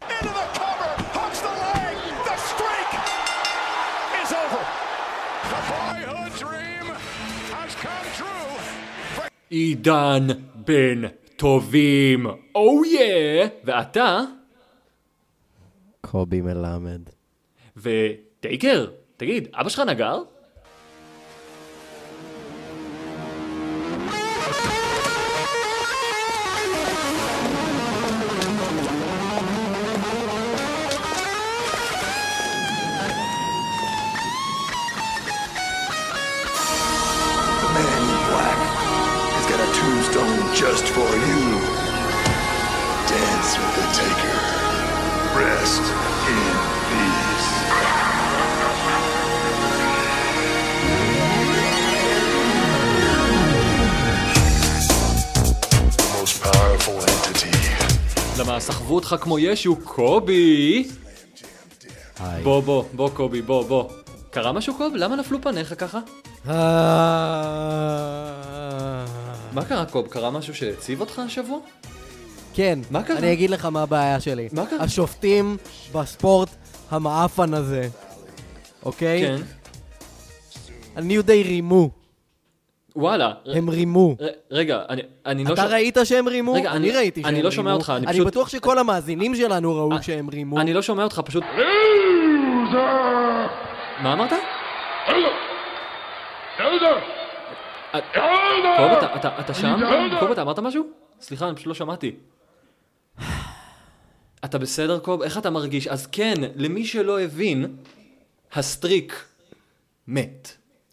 into the cover, hooks the leg. The streak is over. The boyhood dream has come true. עידן בן טובים, או יא! ואתה? קובי מלמד. וטייקר, תגיד, אבא שלך נגר? The man in black has got a tombstone just for you. Dance with the taker. Rest in peace. The most powerful entity. למה סחבו אותך כמו ישו, קובי! היי. בוא, בוא, בוא, קובי, בוא, בוא. קרה משהו, קוב? למה נפלו פניך ככה? אה, מה קרה, קוב? קרה משהו שהציב אותך השבוע? כן, מה קרה? אני אגיד לך מה הבעיה שלי. מה קרה? השופטים בספורט המעפן הזה, אוקיי? כן. הניו דיי רימו, וואלה. ר- הם רימו. ר- רגע, אני- אני לא... אתה ש- ראית שהם רימו? רגע, אני אני- ראיתי שהם אני רימו. לא שומע אותך, אני אני פשוט- בטוח שכל המאזינים שלנו ראו אה, שהם רימו. אני לא שומע אותך, פשוט... מה אמרת? קוב, אתה- אתה- אתה שם? קוב, אתה אמרת משהו? סליחה, אני פשוט לא שמעתי. אתה בסדר, קוב? איך אתה מרגיש? אז כן, למי שלא הבין, הסטריק מת.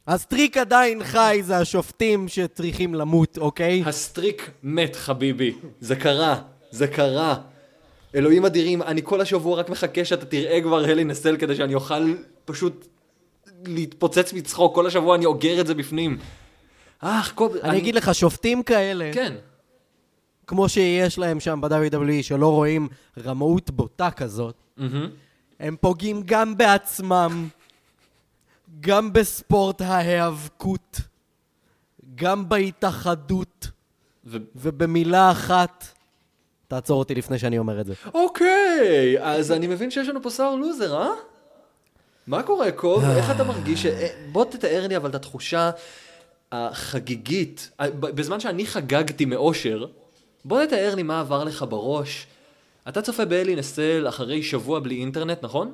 הסטריק עדיין חי, זה השופטים שצריכים למות, אוקיי? הסטריק מת, חביבי. זה קרה, זה קרה. אלוהים אדירים, אני כל השבוע רק מחכה שאתה תראה כבר הלי נסל כדי שאני אוכל פשוט להתפוצץ מצחוק. כל השבוע אני אוגר את זה בפנים. אה, קוב... אני אגיד לך, שופטים כאלה, כן. כמו שיש להם שם ב-WWE, שלא רואים רמאות בוטה כזאת, הם פוגעים גם בעצמם, גם בספורט ההיאבקות, גם בהתאחדות, ו- ובמילה אחת, תעצור אותי לפני שאני אומר את זה. אוקיי, אז אני מבין שיש לנו פה שר לוזר, אה? מה קורה, קוב? איך אתה מרגיש? ש- אה, בוא תתאר לי אבל את התחושה החגיגית. אה, ב- בזמן שאני חגגתי מאושר, בוא תתאר לי מה עבר לך בראש. אתה צופה באלי נסל אחרי שבוע בלי אינטרנט, נכון?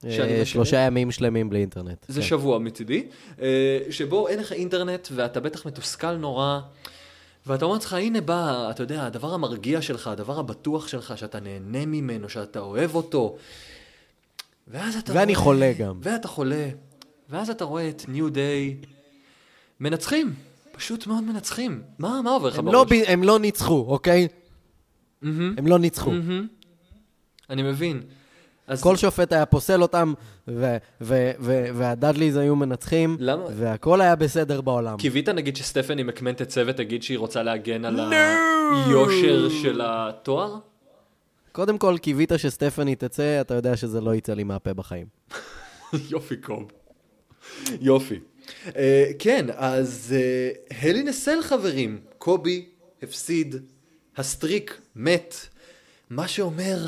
שאני אה, מקווה. שלושה ימים שלמים בלי אינטרנט. זה כן. שבוע מצידי, אה, שבו אין לך אינטרנט ואתה בטח מתוסכל נורא, ואתה אומר לעצמך, הנה בא, אתה יודע, הדבר המרגיע שלך, הדבר הבטוח שלך, שאתה נהנה ממנו, שאתה אוהב אותו. ואז אתה ואני רואה- חולה גם. ואתה חולה, ואז אתה רואה את ניו דיי מנצחים, פשוט מאוד מנצחים. מה, מה עובר לך הם בראש? לא ב- הם לא ניצחו, אוקיי? הם לא ניצחו. אני מבין. אז כל שופט היה פוסל אותם, ו- ו- ו- והדאדליז היו מנצחים, למה? והכל היה בסדר בעולם. קיווית נגיד שסטפני מקמן תצא ותגיד שהיא רוצה להגן על היושר של התואר? קודם כל, קיווית שסטפני תצא, אתה יודע שזה לא יצא לי מהפה בחיים. יופי קוב. יופי. אה, כן, אז אה, הלי נסל חברים, קובי הפסיד, הסטריק מת, מה שאומר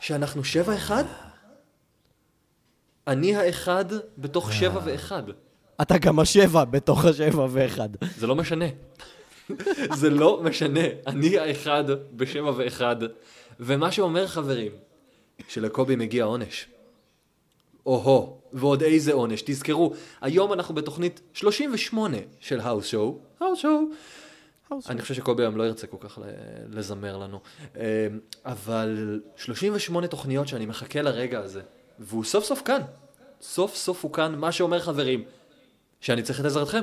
שאנחנו שבע אחד? אני האחד בתוך שבע ואחד. אתה גם השבע בתוך השבע ואחד. זה לא משנה. זה לא משנה, אני האחד בשבע ואחד. ומה שאומר חברים, שלקובי מגיע עונש. או-הו, ועוד איזה עונש. תזכרו, היום אנחנו בתוכנית 38 של האוס שואו. האוס שואו. אני חושב שקובי היום לא ירצה כל כך ל- לזמר לנו. אמ, אבל 38 תוכניות שאני מחכה לרגע הזה, והוא סוף סוף כאן. סוף סוף הוא כאן, מה שאומר חברים, שאני צריך את עזרתכם.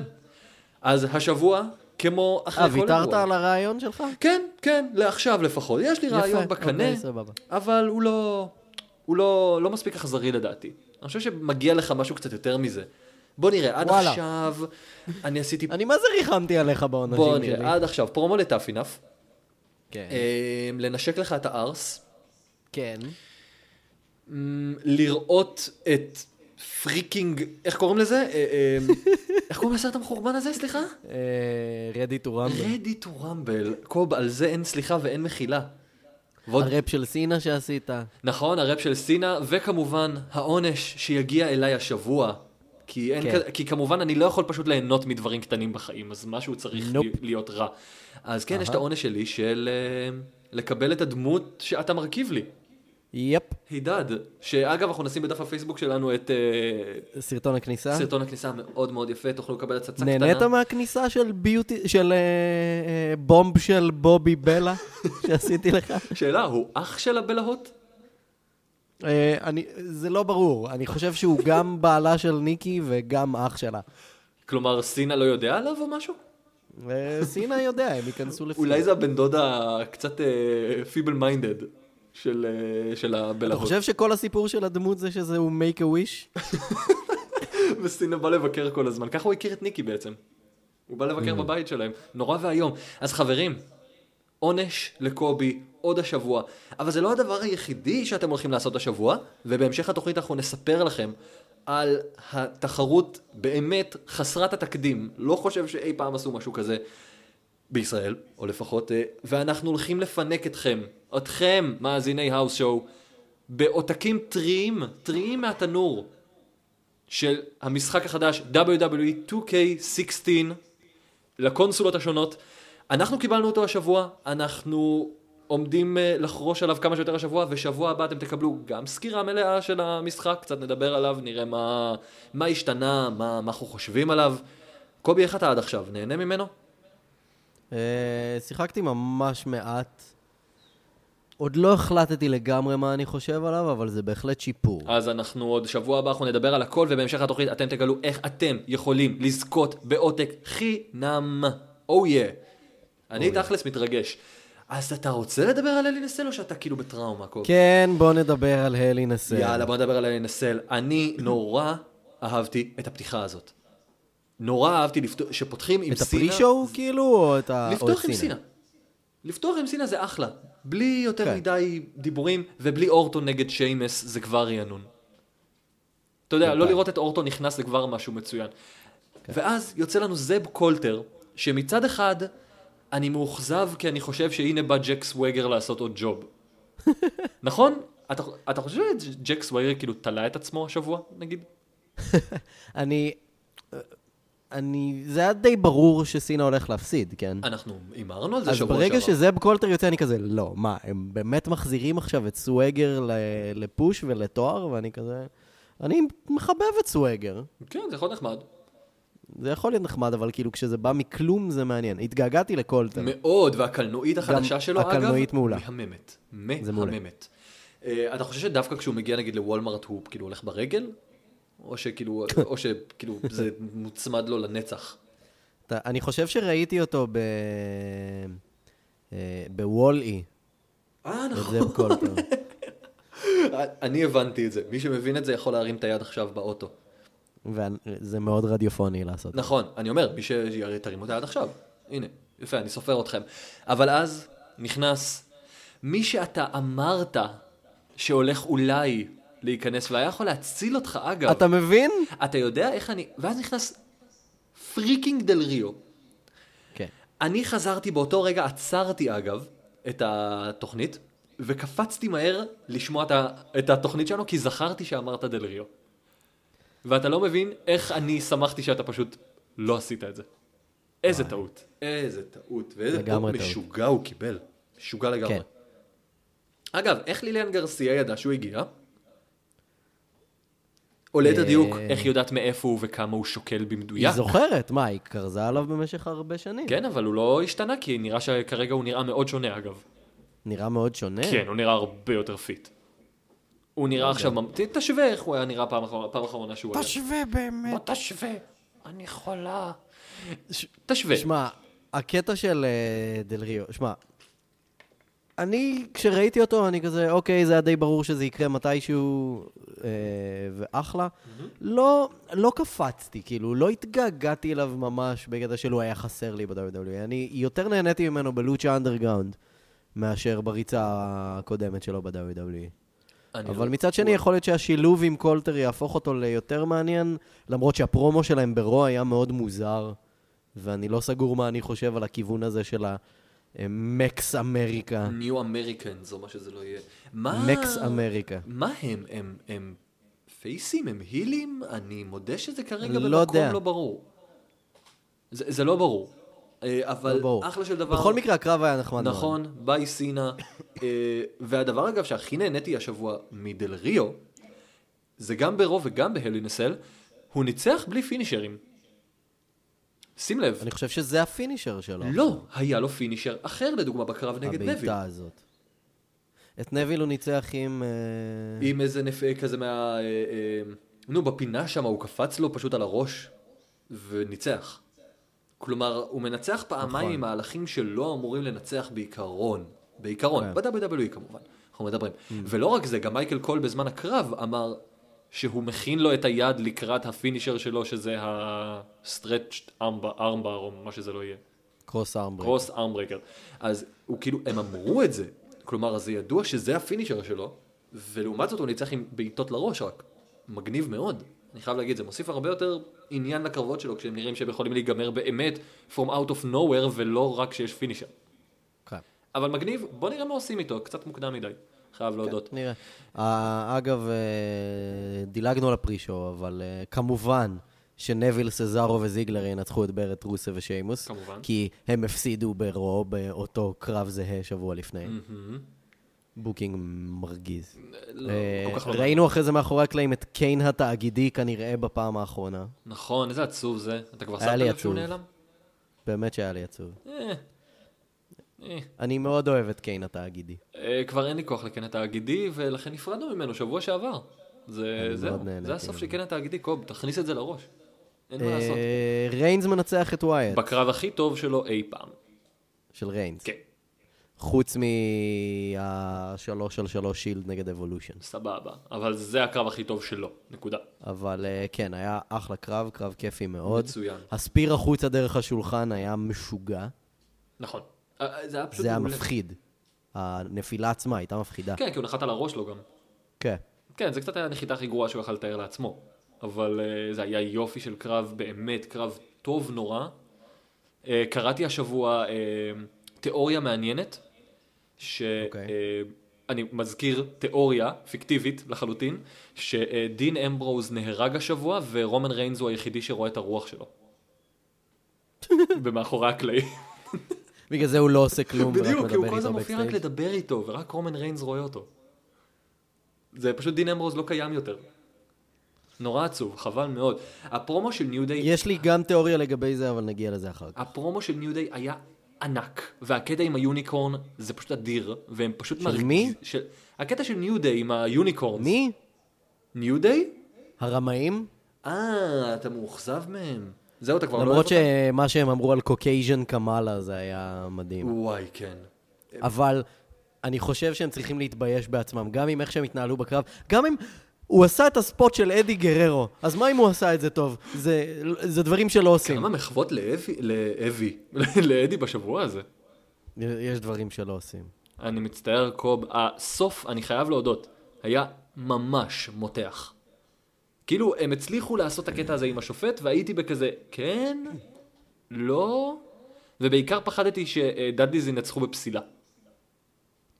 אז השבוע, כמו אחרי אה, כל אירוע... ויתרת על הרעיון שלך? כן, כן, לעכשיו לפחות. יש לי רעיון בקנה, אוקיי, סבבה. אבל הוא לא... הוא לא, לא מספיק אכזרי לדעתי. אני חושב שמגיע לך משהו קצת יותר מזה. בוא נראה, עד וואלה. עכשיו אני עשיתי... אני מה זה ריחמתי עליך בעונשים שלי. בוא נראה, עד עכשיו, פרומו לטאפ אינאף. כן. אמ, לנשק לך את הארס, כן. אמ, לראות את פריקינג, איך קוראים לזה? אה, אמ, איך קוראים לסרט המחורבן הזה, סליחה? רדי טו רמבל. לא. Ready to rumble. קוב, על זה אין סליחה ואין מחילה. ועוד- הראפ של סינה שעשית. נכון, הראפ של סינה, וכמובן העונש שיגיע אליי השבוע. כי, אין כן. כ... כי כמובן אני לא יכול פשוט ליהנות מדברים קטנים בחיים, אז משהו צריך נופ. לי- להיות רע. אז כן, יש את העונש שלי של אה, לקבל את הדמות שאתה מרכיב לי. יפ, הידד, שאגב אנחנו נשים בדף הפייסבוק שלנו את אה, סרטון הכניסה. סרטון הכניסה המאוד מאוד יפה, תוכלו לקבל הצצה קטנה. נהנית מהכניסה של ביוטי, של אה, אה, בומב של בובי בלה שעשיתי לך? שאלה, הוא אח של הבלהות? אה, אני, זה לא ברור, אני חושב שהוא גם בעלה של ניקי וגם אח שלה. כלומר, סינה לא יודע עליו או משהו? אה, סינה יודע, הם ייכנסו לפי. אולי זה הבן דודה קצת פיבל מיינדד של, אה, של אתה הבלהות. חושב שכל הסיפור של הדמות זה שזה הוא make a wish? וסינה בא לבקר כל הזמן. ככה הוא הכיר את ניקי בעצם. הוא בא לבקר בבית שלהם. נורא ואיום. אז חברים, עונש לקובי עוד השבוע. אבל זה לא הדבר היחידי שאתם הולכים לעשות השבוע, ובהמשך התוכנית אנחנו נספר לכם על התחרות באמת חסרת התקדים. לא חושב שאי פעם עשו משהו כזה בישראל, או לפחות, אה, ואנחנו הולכים לפנק אתכם, אתכם, מאזיני האוס שואו, בעותקים טריים, טריים מהתנור. של המשחק החדש E WWE 2K16 לקונסולות השונות. אנחנו קיבלנו אותו השבוע, אנחנו עומדים אה, לחרוש עליו כמה שיותר השבוע, ושבוע הבא אתם תקבלו גם סקירה מלאה של המשחק, קצת נדבר עליו, נראה מה, מה השתנה, מה, מה אנחנו חושבים עליו. קובי, איך אתה עד עכשיו? נהנה ממנו? אה, שיחקתי ממש מעט. עוד לא החלטתי לגמרי מה אני חושב עליו, אבל זה בהחלט שיפור. אז אנחנו עוד שבוע הבא, אנחנו נדבר על הכל, ובהמשך התוכנית אתם תגלו איך אתם יכולים לזכות בעותק חינם. או יא. Oh אני תכלס מתרגש. אז אתה רוצה לדבר על אלי נסל או שאתה כאילו בטראומה? קובי? כן, בוא נדבר על הלי נסל. יאללה, בוא נדבר על אלי נסל. אני נורא אהבתי את הפתיחה הזאת. נורא אהבתי לפתוח- שפותחים עם את סינה. הפרי-שואו כאילו, או את ה... או את לפתוח עם סינה. לפתוח עם סינה זה אחלה. בלי יותר כן. מדי דיבורים, ובלי אורטון נגד שיימס זה כבר רענון. אתה יודע, לא לראות את אורטון נכנס זה כבר משהו מצוין. כן. ואז יוצא לנו זאב קולטר, שמצד אחד אני מאוכזב כי אני חושב שהנה בא ג'ק סווגר לעשות עוד ג'וב. נכון? אתה, אתה חושב שג'ק סווגר כאילו תלה את עצמו השבוע, נגיד? אני... אה, אני... זה היה די ברור שסינה הולך להפסיד, כן? אנחנו הימרנו על זה אז שבוע ברגע שעבר. שזאב קולטר יוצא, אני כזה, לא, מה, הם באמת מחזירים עכשיו את סוואגר ל- לפוש ולתואר? ואני כזה... אני מחבב את סוואגר. כן, זה יכול להיות נחמד. זה יכול להיות נחמד, אבל כאילו כשזה בא מכלום זה מעניין. התגעגעתי לקולטר. מאוד, והקלנועית החדשה שלו, אגב, כן. הקלנועית מעולה. מהממת. זה מעולה. מהממת. אה, אתה חושב שדווקא כשהוא מגיע נגיד לוולמרט הוא כאילו הולך ברגל? או שכאילו, או שכאילו זה מוצמד לו לנצח? אתה, אני חושב שראיתי אותו ב... אה, בוול-אי, אה, את נכון. זאב קולטר. אני הבנתי את זה. מי שמבין את זה יכול להרים את היד עכשיו באוטו. וזה מאוד רדיופוני לעשות. נכון, אני אומר, מי שתרימו את היד עכשיו. הנה, יפה, אני סופר אתכם. אבל אז נכנס מי שאתה אמרת שהולך אולי להיכנס, והיה יכול להציל אותך, אגב. אתה מבין? אתה יודע איך אני... ואז נכנס פריקינג דל ריו. כן. אני חזרתי באותו רגע, עצרתי אגב את התוכנית, וקפצתי מהר לשמוע את, ה... את התוכנית שלנו, כי זכרתי שאמרת דל ריו. ואתה לא מבין איך אני שמחתי שאתה פשוט לא עשית את זה. איזה טעות. איזה טעות. ואיזה פופ לגמרי טעות. משוגע הוא קיבל. משוגע לגמרי. כן. אגב, איך ליליאן גרסיה ידעה שהוא הגיע? או ליתר דיוק, אה, איך היא יודעת מאיפה הוא וכמה הוא שוקל במדויק. היא זוכרת, מה, היא כרזה עליו במשך הרבה שנים. כן, אבל הוא לא השתנה, כי נראה שכרגע הוא נראה מאוד שונה, אגב. נראה מאוד שונה. כן, הוא נראה הרבה יותר פיט. הוא לא נראה עכשיו... ממ- ת- תשווה איך הוא היה נראה פעם אחרונה- פעם אחרונה שהוא היה. תשווה באמת. בוא תשווה. אני חולה. ש- תשווה. שמע, הקטע של אה, דל ריו, שמע, אני, כשראיתי אותו, אני כזה, אוקיי, זה היה די ברור שזה יקרה מתישהו, אה, ואחלה. לא, לא קפצתי, כאילו, לא התגעגעתי אליו ממש בקטע שלו היה חסר לי ב-WWE. אני יותר נהניתי ממנו בלוצ'ה אנדרגראונד, מאשר בריצה הקודמת שלו ב-WWE. אני אבל לא- מצד שני, יכול להיות שהשילוב עם קולטר יהפוך אותו ליותר מעניין, למרות שהפרומו שלהם ברוע היה מאוד מוזר, ואני לא סגור מה אני חושב על הכיוון הזה של ה... אה, מקס אמריקה. New Americans, או מה שזה לא יהיה. מה... מקס אמריקה. מה הם? הם, הם פייסים? הם הילים? אני מודה שזה כרגע לא במקום יודע. לא ברור. זה, זה לא ברור. אה, אבל לא ברור. אחלה של דבר. בכל מקרה, הקרב היה נחמד מאוד. נכון, ביי סינה. אה, והדבר אגב שהכי נהניתי השבוע מדל ריו, זה גם ברו וגם בהלינסל, הוא ניצח בלי פינישרים. שים לב, אני חושב שזה הפינישר שלו. לא היה לו פינישר אחר לדוגמה בקרב נגד נביל. הבעיטה הזאת. את נביל הוא ניצח עם... אה, עם איזה נפ... כזה מה... אה, אה, נו, בפינה שם הוא קפץ לו פשוט על הראש וניצח. כלומר, הוא מנצח פעמיים עם מהלכים שלא אמורים לנצח בעיקרון. בעיקרון, כן. ב-WWE כמובן, אנחנו מדברים. ולא רק זה, גם מייקל קול בזמן הקרב אמר שהוא מכין לו את היד לקראת הפינישר שלו, שזה הסטרצ'ט ארמבר או מה שזה לא יהיה. קרוס ארמברג. קרוס ארמברקר. אז הוא כאילו, הם אמרו את זה. כלומר, אז זה ידוע שזה הפינישר שלו, ולעומת זאת הוא ניצח עם בעיטות לראש רק. מגניב מאוד. אני חייב להגיד, זה מוסיף הרבה יותר עניין לקרבות שלו, כשהם נראים שהם יכולים להיגמר באמת from out of nowhere, ולא רק שיש פינישר. כן. אבל מגניב, בוא נראה מה עושים איתו, קצת מוקדם מדי. חייב להודות. נראה. אה, אגב, אה, דילגנו על הפרישו, אבל אה, כמובן שנביל, סזארו וזיגלר ינצחו את ברט רוסה ושיימוס. כמובן. כי הם הפסידו ברו באותו קרב זהה שבוע לפני. בוקינג מרגיז. לא, אה, כל כך לא ראינו אחרי זה מאחורי הקלעים את קיין התאגידי כנראה בפעם האחרונה. נכון, איזה עצוב זה. אתה כבר היה שמת לי לב שהוא עצוב. נעלם? באמת שהיה לי עצוב. אה, אה. אני מאוד אוהב את קיין התאגידי. אה, כבר אין לי כוח לקן התאגידי, ולכן נפרדנו ממנו שבוע שעבר. זה, זהו, מאוד נהניתי זה הסוף של ממנו. קן התאגידי, קוב, תכניס את זה לראש. אין מה לעשות. אה, כן. ריינס מנצח את ווייט, בקרב הכי טוב שלו אי פעם. של ריינס. כן, חוץ מהשלוש על שלוש שילד נגד אבולושן. סבבה. אבל זה הקרב הכי טוב שלו, נקודה. אבל אה, כן, היה אחלה קרב, קרב כיפי מאוד. מצוין. הספיר החוצה דרך השולחן היה משוגע. נכון. אה, אה, זה היה פשוט זה היה מעולה. מפחיד. הנפילה עצמה הייתה מפחידה. כן, כי הוא נחת על הראש לו גם. כן. כן, זה קצת היה הנחיתה הכי גרועה שהוא יכל לתאר לעצמו. אבל אה, זה היה יופי של קרב, באמת קרב טוב נורא. אה, קראתי השבוע אה, תיאוריה מעניינת, אוקיי. שאני מזכיר תיאוריה פיקטיבית לחלוטין, שדין אמברוז נהרג השבוע ורומן ריינס הוא היחידי שרואה את הרוח שלו. במאחורי הקלעים. בגלל זה הוא לא עושה כלום, ורק בדיוק, כי הוא מדבר כל הזמן איתו מופיע רק בקסטייג'. לדבר איתו, ורק רומן ריינס רואה אותו. זה פשוט דין אמברוז לא קיים יותר. נורא עצוב, חבל מאוד. הפרומו של ניו דיי, יש לי גם תיאוריה לגבי זה, אבל נגיע לזה אחר כך. הפרומו של ניו דיי היה ענק, והקטע עם היוניקורן זה פשוט אדיר, והם פשוט מרגיז- מי? של... הקטע של ניו דיי עם היוניקורן. מי? ניו דיי? הרמאים? אה, אתה מאוכזב מהם. זהו, אתה כבר לא למרות אוהב שמה שהם אמרו על קוקייז'ן קמאלה זה היה מדהים. אותם? וואי, כן. אבל אני חושב שהם צריכים להתבייש בעצמם, גם עם איך שהם התנהלו בקרב, גם אם הוא עשה את הספוט של אדי גררו, אז מה אם הוא עשה את זה טוב? זה, זה דברים שלא עושים. כמה מחוות לאבי, לאבי, לאדי בשבוע הזה. יש דברים שלא עושים. אני מצטער, קוב. הסוף, אני חייב להודות, היה ממש מותח. כאילו, הם הצליחו לעשות את הקטע הזה עם השופט, והייתי בכזה, כן? לא? ובעיקר פחדתי שדאדליז ינצחו בפסילה.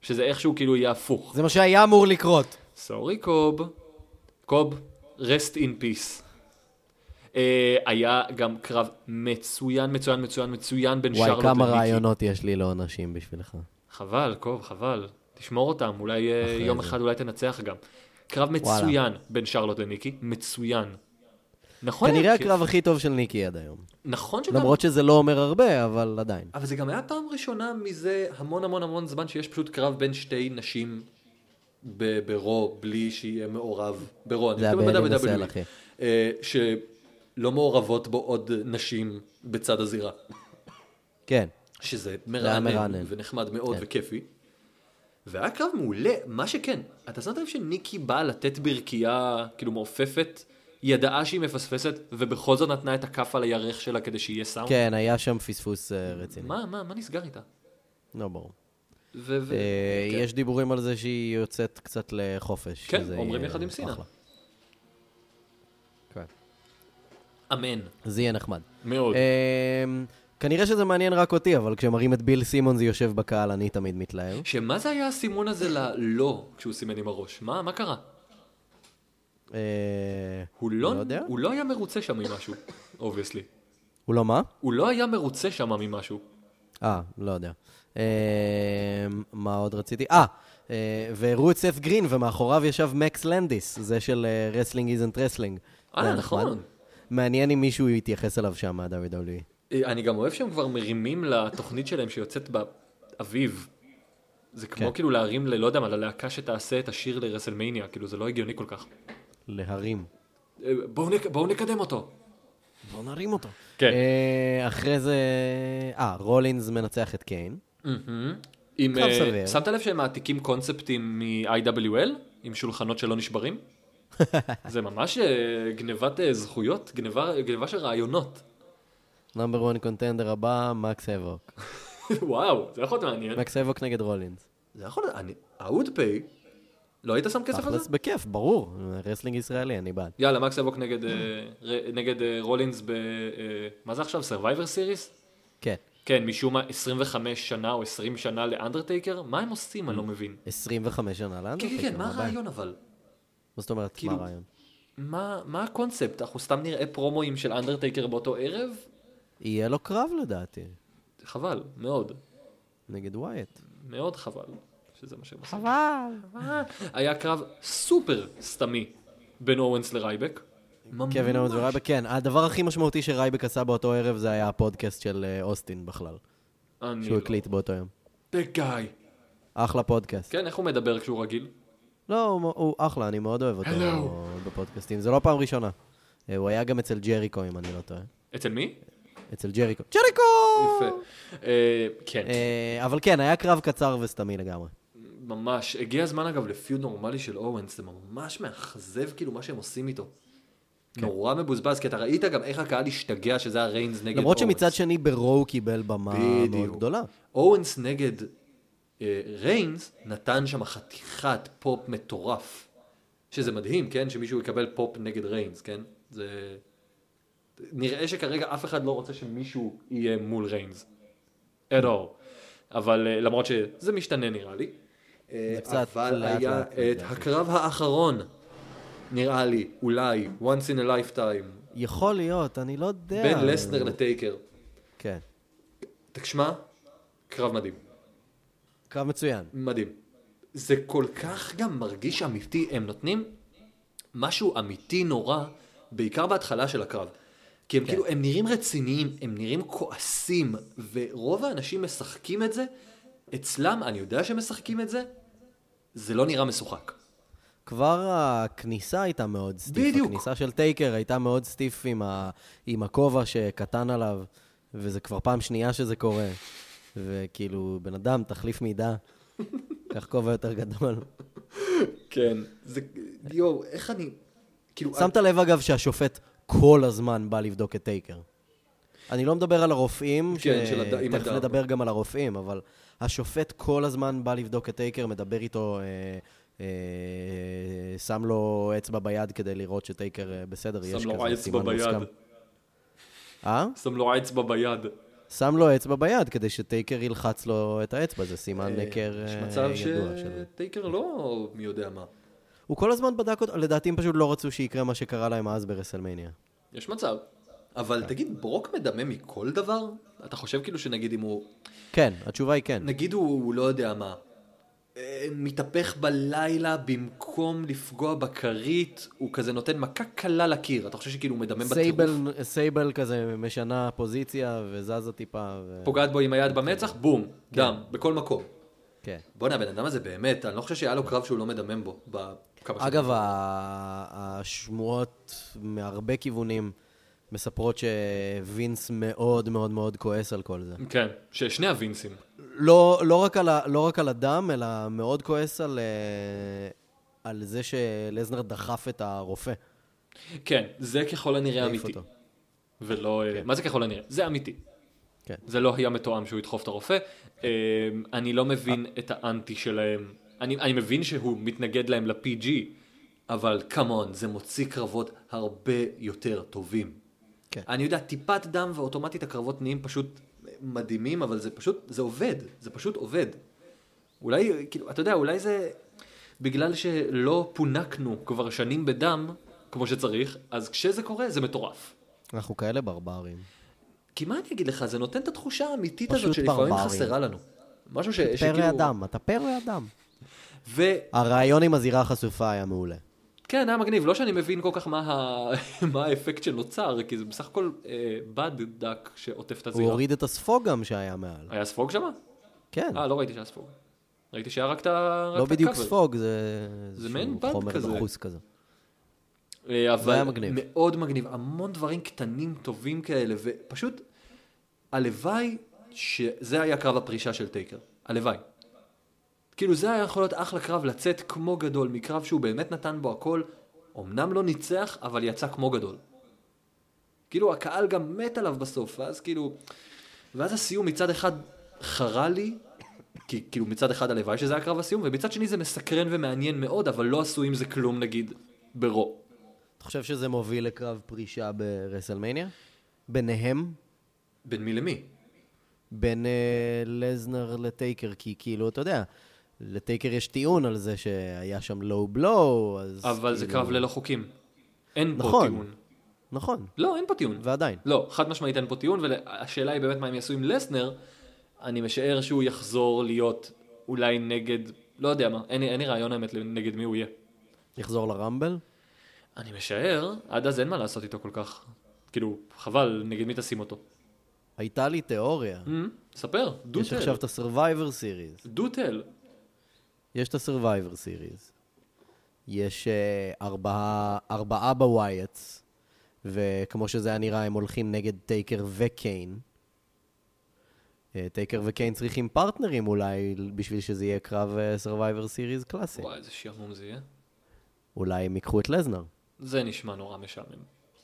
שזה איכשהו כאילו יהיה הפוך. זה מה שהיה אמור לקרות. סורי, קוב. קוב, rest in peace. Uh, היה גם קרב מצוין, מצוין, מצוין, מצוין בין וואי, שרלוט כמה למיקי. רעיונות יש לי לעונשים בשבילך. חבל, קוב, חבל. תשמור אותם, אולי אה, יום זה. אחד אולי תנצח גם. קרב מצוין בין שרלוט למיקי, מצוין. נכון, כנראה כן. הקרב הכי טוב של ניקי עד היום. נכון שגם... למרות שזה לא אומר הרבה, אבל עדיין. אבל זה גם היה פעם ראשונה מזה המון המון המון זמן שיש פשוט קרב בין שתי נשים ב- ברו בלי שיהיה מעורב. ברו, אני זה מתכוון הבעלים ב-WWE, הסל, אחי. אה, שלא מעורבות בו עוד נשים בצד הזירה. כן. שזה היה מרענן מרענן. ונחמד מאוד כן. וכיפי. והיה קרב מעולה, מה שכן, אתה שמת לב שניקי באה לתת ברכייה כאילו מעופפת, ידעה שהיא מפספסת, ובכל זאת נתנה את הכף על הירך שלה כדי שיהיה סאונד? כן, היה שם פספוס אה, רציני. מה, מה, מה נסגר איתה? לא ברור. ו- ו- אה, כן. יש דיבורים על זה שהיא יוצאת קצת לחופש. כן, שזה אומרים יהיה יחד עם סינה. אחלה. כן. אמן, זה יהיה נחמד. אה. מאוד. אמ, כנראה שזה מעניין רק אותי, אבל כשמראים את ביל סימונס יושב בקהל, אני תמיד מתלהב. שמה זה היה הסימון הזה ללא כשהוא סימן עם הראש? מה, מה קרה? אה, הוא לא, לא יודע. הוא לא היה מרוצה שם ממשהו, אובייסלי. הוא לא מה? הוא לא היה מרוצה שם ממשהו. אה, לא יודע. אה, מה עוד רציתי? אה, אה, והראו את סף גרין, ומאחוריו ישב מקס לנדיס, זה של אה, רסלינג איזנט רסלינג. אה, נכון. מעניין אם מישהו יתייחס אליו שם, מה-WWE. אה, אני גם אוהב שהם כבר מרימים לתוכנית שלהם שיוצאת באביב. זה כמו כן. כאילו להרים ללא יודע מה, ללהקה שתעשה את השיר לרסלמניה, כאילו זה לא הגיוני כל כך. להרים. אה, בואו נק, בואו נקדם אותו. בוא נרים אותו. כן. אה, אחרי זה... אה, רולינס מנצח את קיין. עם, קרב אה, סביר. שמת לב שהם מעתיקים קונספטים מ-IWL, עם שולחנות שלא נשברים? זה ממש אה, גנבת אה, זכויות, גנבה, גנבה של רעיונות. נאמבר 1 קונטנדר הבא, מקס אבוק. כן. וואו, זה יכול להיות מעניין. מקס אבוק נגד רולינס. זה יכול להיות, אני, האודפיי, לא היית שם כסף על תכלס זה? בכיף, ברור. רסלינג ישראלי, אני בעד. יאללה, מקס אבוק נגד, אה, ר- נגד אה, רולינס ב... אה, מה זה עכשיו? סרווייבר סיריס? כן. כן, משום מה 25 שנה או 20 שנה לאנדרטייקר? מה הם עושים? אני לא מבין. 25 שנה כן, לאנדרטייקר. כן, כן, מה הבעיה? הרעיון אבל? מה זאת אומרת, כאילו- מה הרעיון? מה מה הקונספט? אנחנו סתם נראה פרומואים של אנדרטייקר באותו ערב? יהיה לו קרב לדעתי, חבל, מאוד. נגד ווייט. מאוד חבל שזה מה שהם עושים. חבל. היה קרב סופר סתמי בין אורנס לרייבק. קווין אורנס ממש. ורייבק, כן. הדבר הכי משמעותי שרייבק עשה באותו ערב זה היה הפודקאסט של אה, אוסטין בכלל, אני שהוא לא. הקליט באותו יום. The guy. אחלה פודקאסט. כן, איך הוא מדבר כשהוא רגיל? לא, הוא- הוא אחלה, אני מאוד אוהב אותו Hello. בפודקאסטים. זו לא פעם ראשונה. אה, הוא היה גם אצל ג'ריקו, אם אני לא טועה. אצל מי? אצל ג'ריקו. ג'ריקו! יפה. אה, כן, אה, אבל כן, היה קרב קצר וסתמי לגמרי. ממש. הגיע הזמן אגב לפיוד נורמלי של אורנס, זה ממש מאכזב כאילו מה שהם עושים איתו. כן. נורא מבוזבז, כי אתה ראית גם איך הקהל השתגע שזה היה ריינס נגד אורנס. למרות שמצד שני ברו הוא קיבל במה מאוד בדיוק. גדולה. אורנס נגד אה, ריינס נתן שם חתיכת פופ מטורף. שזה מדהים, כן? שמישהו יקבל פופ נגד ריינס, כן? זה... נראה שכרגע אף אחד לא רוצה שמישהו יהיה מול ריינס. at all. אבל אה, למרות שזה משתנה נראה לי. אה, זה קצת אבל לאט היה לאט, את לדעתי. הקרב האחרון, נראה לי, אולי, once in a lifetime, יכול להיות, אני לא יודע. בין לסנר לטייקר. כן. תשמע, קרב מדהים. קרב מצוין. מדהים. זה כל כך גם מרגיש אמיתי, הם נותנים משהו אמיתי נורא, בעיקר בהתחלה של הקרב. כי הם כן. כאילו, הם נראים רציניים, הם נראים כועסים, ורוב האנשים משחקים את זה, אצלם, אני יודע שהם משחקים את זה, זה לא נראה משוחק. כבר הכניסה הייתה מאוד סטיף. בדיוק. הכניסה של טייקר הייתה מאוד סטיף עם, ה... עם הכובע שקטן עליו, וזה כבר פעם שנייה שזה קורה. וכאילו, בן אדם, תחליף מידע, קח כובע יותר גדול. כן. זה, יואו, איך אני... כאילו, שמת לב, אגב, שהשופט כל הזמן בא לבדוק את טייקר. אני לא מדבר על הרופאים, כן, של הד- עם תכף הדם. נדבר גם על הרופאים, אבל השופט כל הזמן בא לבדוק את טייקר, מדבר איתו, אה, אה, שם לו אצבע ביד כדי לראות שטייקר אה, בסדר, יש שם כזה לו אצבע סימן ביד, מוסכם. אה? שם לו אצבע ביד. שם לו אצבע ביד כדי שטייקר ילחץ לו את האצבע, זה סימן היכר יש אה, מצב ידוע שלו. שטייקר לא מי יודע מה. הוא כל הזמן בדק אותו, לדעתי הם פשוט לא רצו שיקרה מה שקרה להם אז ברסלמניה. יש מצב. אבל תגיד, ברוק מדמם מכל דבר? אתה חושב כאילו שנגיד אם הוא... כן, התשובה היא כן. נגיד הוא, הוא לא יודע מה. אה, מתהפך בלילה במקום לפגוע בכרית, הוא כזה נותן מכה קלה לקיר. אתה חושב שכאילו הוא מדמם סייבל, בטירוף? סייבל כזה משנה פוזיציה וזזה טיפה. ו... פוגעת בו עם היד במצח, בום, דם, בכל מקום. כן. בואנה, הבן אדם הזה באמת, אני לא חושב שהיה לו קרב שהוא לא מדמם בו. בכמה שנים. אגב, ה- השמועות מהרבה כיוונים מספרות שווינס מאוד מאוד מאוד כועס על כל זה. כן, ששני הווינסים. לא, לא, רק, על ה, לא רק על הדם, אלא מאוד כועס על, אה, על זה שלזנר דחף את הרופא. כן, זה ככל הנראה העיף אמיתי. אותו. ולא... אה, מה זה ככל הנראה? זה אמיתי. כן. זה לא היה מתואם שהוא ידחוף את הרופא. אה, אני לא מבין את האנטי שלהם. אני, אני מבין שהוא מתנגד להם ל-PG, אבל כמון, זה מוציא קרבות הרבה יותר טובים. כן. אני יודע, טיפת דם ואוטומטית הקרבות נהיים פשוט מדהימים, אבל זה פשוט, זה עובד, זה פשוט עובד. אולי, כאילו, אתה יודע, אולי זה בגלל שלא פונקנו כבר שנים בדם, כמו שצריך, אז כשזה קורה זה מטורף. אנחנו כאלה ברברים. כי מה אני אגיד לך, זה נותן את התחושה האמיתית פשוט הזאת שלפעמים ברברים. חסרה לנו. משהו ש... פרא אדם, אתה פרא אדם. ו... הרעיון עם הזירה החשופה היה מעולה. כן, היה מגניב. לא שאני מבין כל כך מה, ה... מה האפקט שנוצר, כי זה בסך הכל אה, בד דק שעוטף את הוא הזירה. הוריד את הספוג גם שהיה מעל. היה ספוג שם? כן, אה, לא ראיתי שהיה ספוג. ראיתי שהיה רק את ה... רק לא את בדיוק הקאבר. ספוג, זה... זה איזשהו מעין בד חומר כזה. דחוס כזה. אה, אבל היה מגניב. מאוד מגניב, המון דברים קטנים טובים כאלה, ופשוט הלוואי שזה היה קרב הפרישה של טייקר, הלוואי. כאילו זה היה יכול להיות אחלה קרב לצאת כמו גדול, מקרב שהוא באמת נתן בו הכל, אמנם לא ניצח, אבל יצא כמו גדול. כאילו הקהל גם מת עליו בסוף, ואז כאילו, ואז הסיום מצד אחד חרה לי, כי כאילו מצד אחד הלוואי שזה היה קרב הסיום, ומצד שני זה מסקרן ומעניין מאוד, אבל לא עשו עם זה כלום נגיד ברו. אתה חושב שזה מוביל לקרב פרישה ברסלמניה? ביניהם? בין מי למי? בין אה, לזנר לטייקר, כי כאילו, אתה יודע, לטייקר יש טיעון על זה שהיה שם לואו בלואו, אז... אבל זה כאילו- קרב ללא חוקים. אין פה נכון. טיעון. נכון, לא, אין פה טיעון. ועדיין. לא, חד משמעית אין פה טיעון, והשאלה היא באמת מה הם יעשו עם לסנר. אני משער שהוא יחזור להיות אולי נגד, לא יודע מה, אין לי- אין לי רעיון האמת נגד מי הוא יהיה. יחזור לרמבל? אני משער, עד אז אין מה לעשות איתו כל כך. כאילו, חבל, נגד מי תשים אותו. הייתה לי תיאוריה. אה, ספר, דו Mm-hmm. יש תל. עכשיו את ה-survivor series. דו תל. יש את ה-survivor series. יש אה, ארבעה, ארבעה בווייטס, וכמו שזה היה נראה, הם הולכים נגד טייקר וקיין. אה, טייקר וקיין צריכים פרטנרים אולי בשביל שזה יהיה קרב אה, survivor series קלאסי. וואי, איזה שעמום זה יהיה. אולי הם ייקחו את לזנר. זה נשמע נורא משעמם.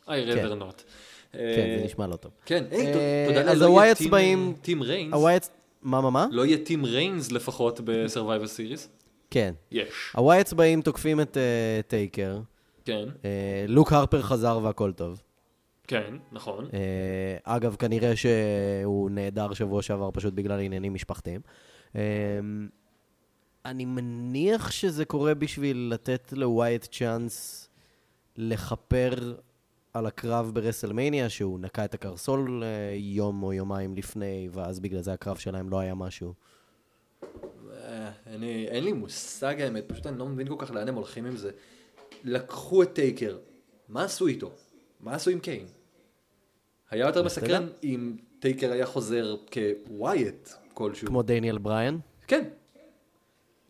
I rather not. כן, זה נשמע לא טוב. אה, כן, היי, אה, תודה לאל, אז לא יהיה הווייטס טים- באים- טים ריינס. הווייטס... מה, מה, מה? לא יהיה טים ריינס לפחות בסרווייבר סיריס? כן. יש. הווייטס באים, תוקפים את אה, טייקר. כן, אה, לוק הרפר חזר והכל טוב. כן, נכון. אה, אגב, כנראה שהוא נעדר שבוע שעבר פשוט בגלל עניינים משפחתיים. אה, אני מניח שזה קורה בשביל לתת לווייט צ'אנס לכפר על הקרב ברסלמניה, שהוא נקע את הקרסול אה, יום או יומיים לפני, ואז בגלל זה הקרב שלהם לא היה משהו. אה, אני, אין לי מושג האמת, פשוט אני לא מבין כל כך לאן הם הולכים עם זה. לקחו את טייקר, מה עשו איתו? מה עשו עם קיין? היה יותר מסקרן אם טייקר היה חוזר כווייט כלשהו. כמו דניאל בריין. כן.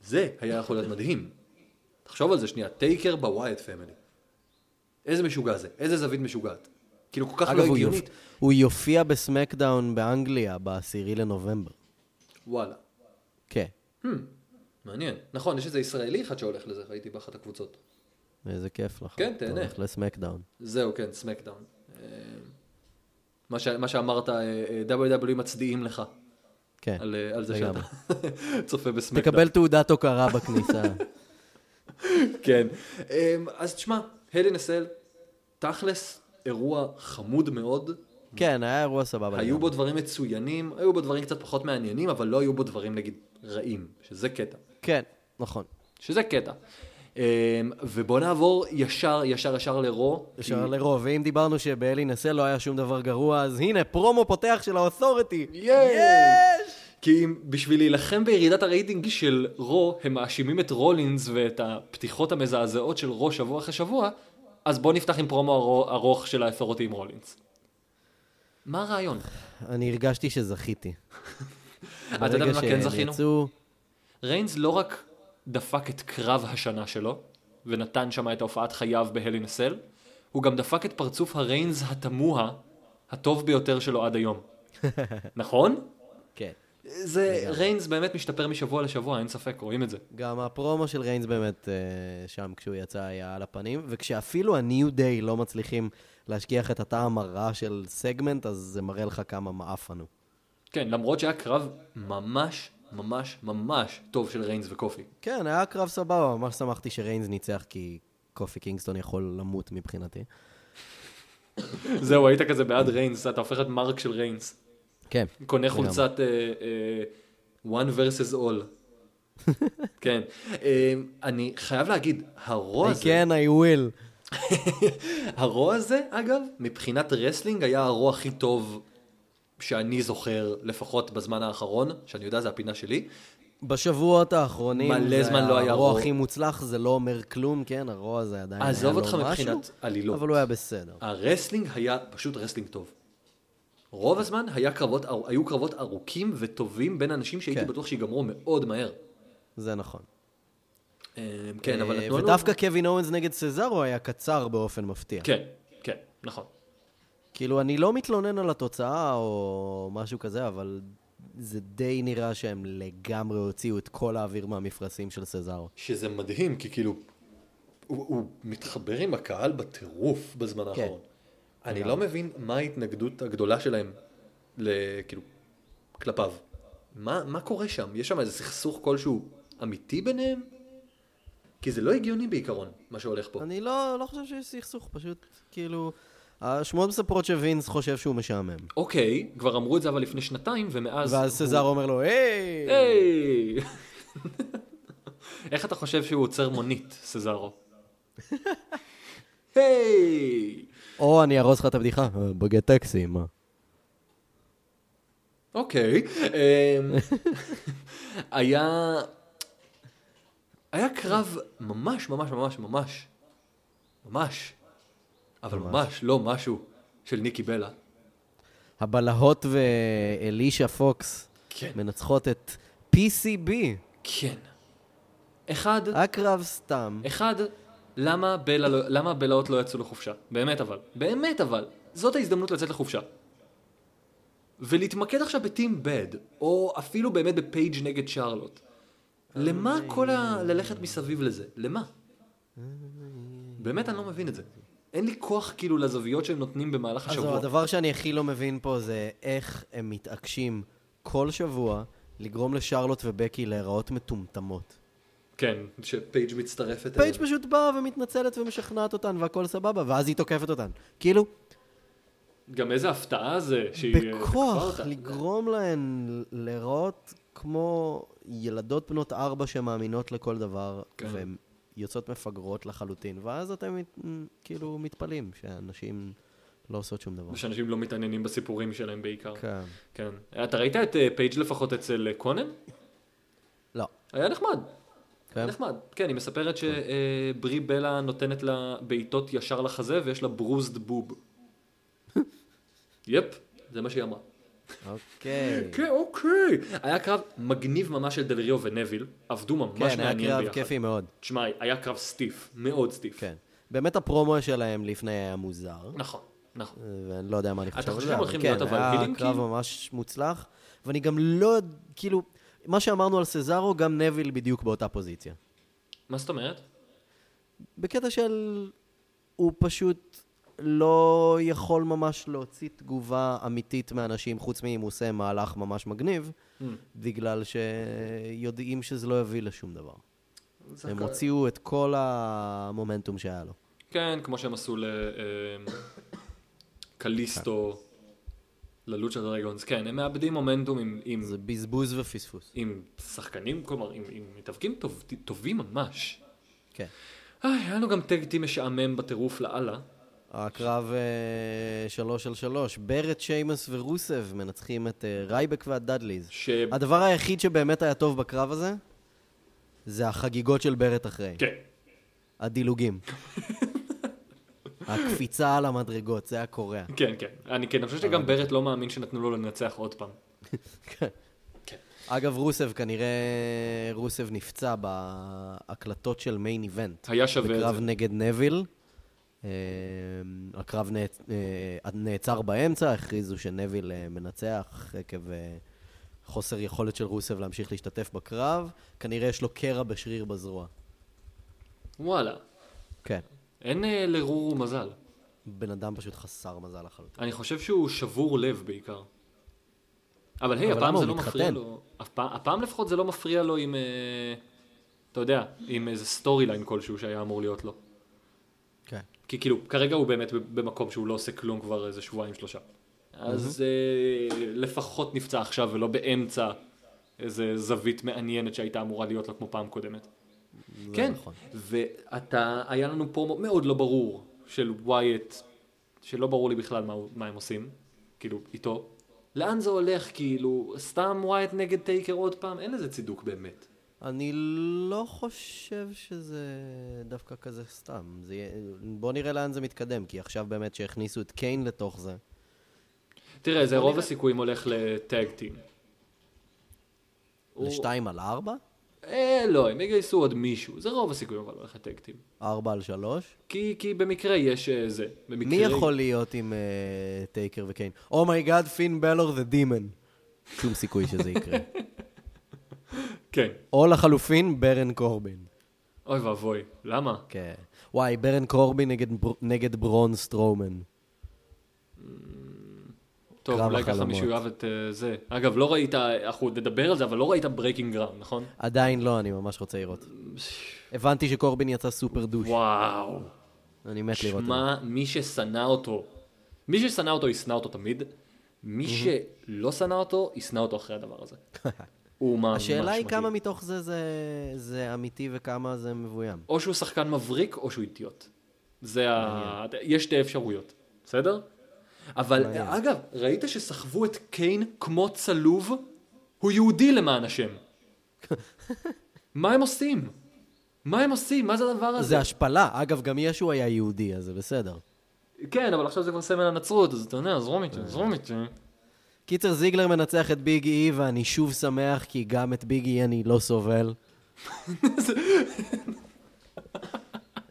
זה היה יכול להיות מדהים. תחשוב על זה שנייה, טייקר בווייט פמילי. איזה משוגע זה, איזה זווית משוגעת. כאילו כל כך לא אגב, הוא, יופ... הגיונית. הוא יופיע בסמקדאון באנגליה ב-10 לנובמבר. וואלה. Hmm, כן, מעניין. נכון, יש איזה ישראלי אחד שהולך לזה, ראיתי באחת הקבוצות. איזה כיף לך. כן, תהנה. אתה הולך לסמקדאון. זהו, כן, סמקדאון. אה, מה, ש... מה שאמרת, אה, אה, WWE מצדיעים לך כן. על, אה, על זה שאתה לגמרי. צופה בסמקדאון. תקבל תעודת הוקרה בכניסה. כן. אה, אז תשמע, הלי נסל, תכלס, אירוע חמוד מאוד. כן, היה אירוע סבבה. היו לגמרי. בו דברים מצוינים, היו בו דברים קצת פחות מעניינים, אבל לא היו בו דברים, נגיד, רעים, שזה קטע. כן, נכון. שזה קטע. אה, ובוא נעבור ישר, ישר, ישר לרו. אפשר לרוב, ואם דיברנו שבאלי נסה לא היה שום דבר גרוע, אז הנה, פרומו פותח של האותוריטי. יש! כי אם בשביל להילחם בירידת הרייטינג של רו, הם מאשימים את רולינס ואת הפתיחות המזעזעות של רו שבוע אחרי שבוע, אז בוא נפתח עם פרומו ארו- ארוך של האפרותי עם רולינס. מה הרעיון? אני הרגשתי שזכיתי. אתה יודע במה כן זכינו? יצאו... ריינס לא רק דפק את קרב השנה שלו, ונתן שם את ההופעת חייו בהלי נסל, הוא גם דפק את פרצוף הריינס התמוה, הטוב ביותר שלו עד היום. נכון? כן. זה, ריינס באמת משתפר משבוע לשבוע, אין ספק, רואים את זה. גם הפרומו של ריינס באמת אה, שם כשהוא יצא היה על הפנים, וכשאפילו ה-New Day לא מצליחים להשכיח את הטעם הרע של סגמנט, אז זה מראה לך כמה מעפנו. כן, למרות שהיה קרב ממש, ממש, ממש טוב של ריינס וקופי. כן, היה קרב סבבה, ממש שמחתי שריינס ניצח, כי קופי קינגסטון יכול למות מבחינתי. זהו, היית כזה בעד ריינס, אתה הופך להיות מרק של ריינס. כן. קונה לגמרי. חולצת אה, אה, one versus all. כן. אה, אני חייב להגיד, הרוע I הזה, can, אה, כן, I will. הרוע הזה, אגב, מבחינת רסלינג היה הרוע הכי טוב שאני זוכר, לפחות בזמן האחרון, שאני יודע, זה הפינה שלי. בשבועות האחרונים, מלא זה זמן לא היה רוע. הרוע הכי מוצלח, זה לא אומר כלום, כן, הרוע הזה עדיין היה עזוב לו אותך מבחינת משהו, עלילות. אבל הוא היה בסדר. הרסלינג היה פשוט רסלינג טוב. רוב הזמן היה קרבות, היו קרבות ארוכים וטובים בין אנשים שהייתי כן. בטוח שיגמרו מאוד מהר. זה נכון. אה, כן, אבל אה, נתנו לנו... ודווקא קווין אורנס נגד סזארו היה קצר באופן מפתיע. כן, כן, נכון. כאילו, אני לא מתלונן על התוצאה או משהו כזה, אבל זה די נראה שהם לגמרי הוציאו את כל האוויר מהמפרשים של סזארו. שזה מדהים, כי כאילו, הוא, הוא מתחבר עם הקהל בטירוף בזמן כן. האחרון. אני לא מבין מה ההתנגדות הגדולה שלהם, ל, כאילו, כלפיו. מה, מה קורה שם? יש שם איזה סכסוך כלשהו אמיתי ביניהם? כי זה לא הגיוני בעיקרון, מה שהולך פה. אני לא, לא חושב שיש סכסוך, פשוט, כאילו... השמועות מספרות שווינס חושב שהוא משעמם. אוקיי, כבר אמרו את זה אבל לפני שנתיים, ומאז... ואז סזארו אומר לו, היי! היי! איך אתה חושב שהוא עוצר מונית, סזארו? היי! או אני ארוס לך את הבדיחה, "אה, בוגד טקסי, מה? אוקיי. אמ, היה... היה קרב ממש ממש ממש ממש. ממש. אבל ממש לא משהו של ניקי בלה. הבלהות ואלישה פוקס כן. מנצחות את PCB. כן. אחד, הקרב סתם. אחד, למה, בלה, לא- למה בלהות לא יצאו לחופשה? באמת אבל. באמת אבל. זאת ההזדמנות לצאת לחופשה. ולהתמקד עכשיו בטים בד, או אפילו באמת בפייג' נגד שרלוט. אה. למה כל ה... ללכת מסביב לזה? למה? באמת אני לא מבין את זה. אין לי כוח כאילו לזוויות שהם נותנים במהלך אז השבוע. הדבר שאני הכי לא מבין פה זה איך הם מתעקשים כל שבוע לגרום לשרלוט ובקי להיראות מטומטמות. כן, שפייג' מצטרפת פייג' פשוט באה ומתנצלת ומשכנעת אותן והכל סבבה, ואז היא תוקפת אותן. כאילו, גם איזה הפתעה זה שהיא... אה, תקפה בכוח אותה. לגרום להן להיראות כמו ילדות בנות ארבע שמאמינות לכל דבר, כן. והן יוצאות מפגרות לחלוטין, ואז אתם מת- כאילו מתפלאים שאנשים לא עושות שום דבר. ושאנשים לא מתעניינים בסיפורים שלהם בעיקר. כן. כן. אתה ראית את אה, פייג' לפחות אצל אה, קונן? לא. היה נחמד. כן? היה נחמד. כן, היא מספרת שברי בלה נותנת לה בעיטות ישר לחזה ויש לה ברוזד בוב. יפ, זה מה שהיא אמרה. אוקיי. כן, אוקיי. היה קרב מגניב ממש של דלריו ונביל, עבדו ממש כן, היה מעניין ביחד. קרב כיפי מאוד. תשמע, היה קרב סטיף, מאוד סטיף. כן. באמת הפרומו שלהם לפני היה מוזר, נכון, נכון. ואני לא יודע מה אני חושב על חושב זה. שהם אבל הולכים כן, להיות אבל היה הילים, קרב כאילו? ממש מוצלח, ואני גם לא, כאילו, מה שאמרנו על סזארו, גם נביל בדיוק באותה פוזיציה. מה זאת אומרת? בקטע של... הוא פשוט לא יכול ממש להוציא תגובה אמיתית מאנשים, חוץ מאם הוא עושה מהלך ממש מגניב, בגלל שיודעים שזה לא יביא לשום דבר. הם הוציאו את כל המומנטום שהיה לו. כן, כמו שהם עשו אה, לקליסטו, ללוצ'ה דרגונס, כן, הם מאבדים מומנטום עם- עם זה בזבוז ופספוס. עם שחקנים, כלומר, עם, עם מתאבקים טוב, טובים ממש. כן. איי, היה לנו גם טג טים משעמם בטירוף לאללה. הקרב אה, שלוש על שלוש, ברט, שיימס ורוסב מנצחים את אה, רייבק והדדליז. ש... הדבר היחיד שבאמת היה טוב בקרב הזה, זה החגיגות של ברט אחרי. כן. הדילוגים. הקפיצה על המדרגות, זה הקורע. כן, כן. אני כן, אני חושב שגם ברט לא מאמין שנתנו לו לנצח עוד פעם. כן. אגב, רוסב, כנראה רוסב נפצע בהקלטות של מיין איבנט. היה שווה את בקרב זה. נגד נביל. אה, הקרב נעצ- אה, נעצר באמצע, הכריזו שנביל אה, מנצח עקב אה, חוסר יכולת של רוסב להמשיך להשתתף בקרב. כנראה יש לו קרע בשריר בזרוע. וואלה. כן. אין אה, לרורו מזל. בן אדם פשוט חסר מזל לחלוטין. אני חושב שהוא שבור לב בעיקר. אבל היי, אבל הפעם למה זה הוא לא מפריע מתחתן? לו. אף פעם- הפעם לפחות זה לא מפריע לו עם... אה, אתה יודע, עם איזה סטורי ליין כלשהו שהיה אמור להיות לו. כן. כי כאילו, כרגע הוא באמת במקום שהוא לא עושה כלום כבר איזה שבועיים שלושה. אז אה, לפחות נפצע עכשיו ולא באמצע איזה זווית מעניינת שהייתה אמורה להיות לה כמו פעם קודמת. כן, נכון. ואתה, היה לנו פרומו מאוד לא ברור של ווייט, שלא ברור לי בכלל מה, הוא- מה הם עושים, כאילו, איתו. לאן זה הולך, כאילו, סתם ווייט נגד טייקר עוד פעם? אין לזה צידוק באמת. אני לא חושב שזה דווקא כזה סתם. זה יהיה... בוא נראה לאן זה מתקדם, כי עכשיו באמת שהכניסו את קיין לתוך זה. תראה, זה רוב הסיכויים הולך לטאג טים. הוא- לשתיים על ארבע? אה, לא, הם יגייסו עוד מישהו, זה רוב הסיכויים אבל הולך לטאג טים. ארבע על שלוש? כי, כי במקרה יש אה, זה. במקרה... מי יכול להיות עם אה, טייקר וקיין? אומייגאד, פין בלור זה דימן. שום סיכוי שזה יקרה. כן. או לחלופין, ברן קורבין. אוי ואבוי, למה? כן. וואי, ברן קורבין נגד, בר... נגד ברון סטרומן. טוב, קרב אולי ככה החלומות. מישהו יאהב את אה, זה. אגב, לא ראית, אנחנו נדבר על זה, אבל לא ראית ברייקינג גראונד, נכון? עדיין לא, אני ממש רוצה לראות. הבנתי שקורבין יצא סופר דוש. וואו. אני מת לראות את זה. שמע, מי ששנא אותו, מי ששנא אותו, ישנא אותו תמיד. מי שלא שנא אותו, ישנא אותו אחרי הדבר הזה. הוא ממש השאלה היא מגעיל. כמה מתוך זה, זה זה אמיתי וכמה זה מבוים. או שהוא שחקן מבריק, או שהוא אידיוט. זה ה... יש שתי אפשרויות, בסדר? אבל אגב, ראית שסחבו את קיין כמו צלוב? הוא יהודי למען השם. מה הם עושים? מה הם עושים? מה זה הדבר הזה? זה השפלה. אגב, גם ישו היה יהודי, אז זה בסדר. כן, אבל עכשיו זה כבר סמל הנצרות, אז אתה יודע, זרום אה. איתי, זרום איתי. קיצר, זיגלר מנצח את ביג אי, ואני שוב שמח, כי גם את ביג אי אני לא סובל.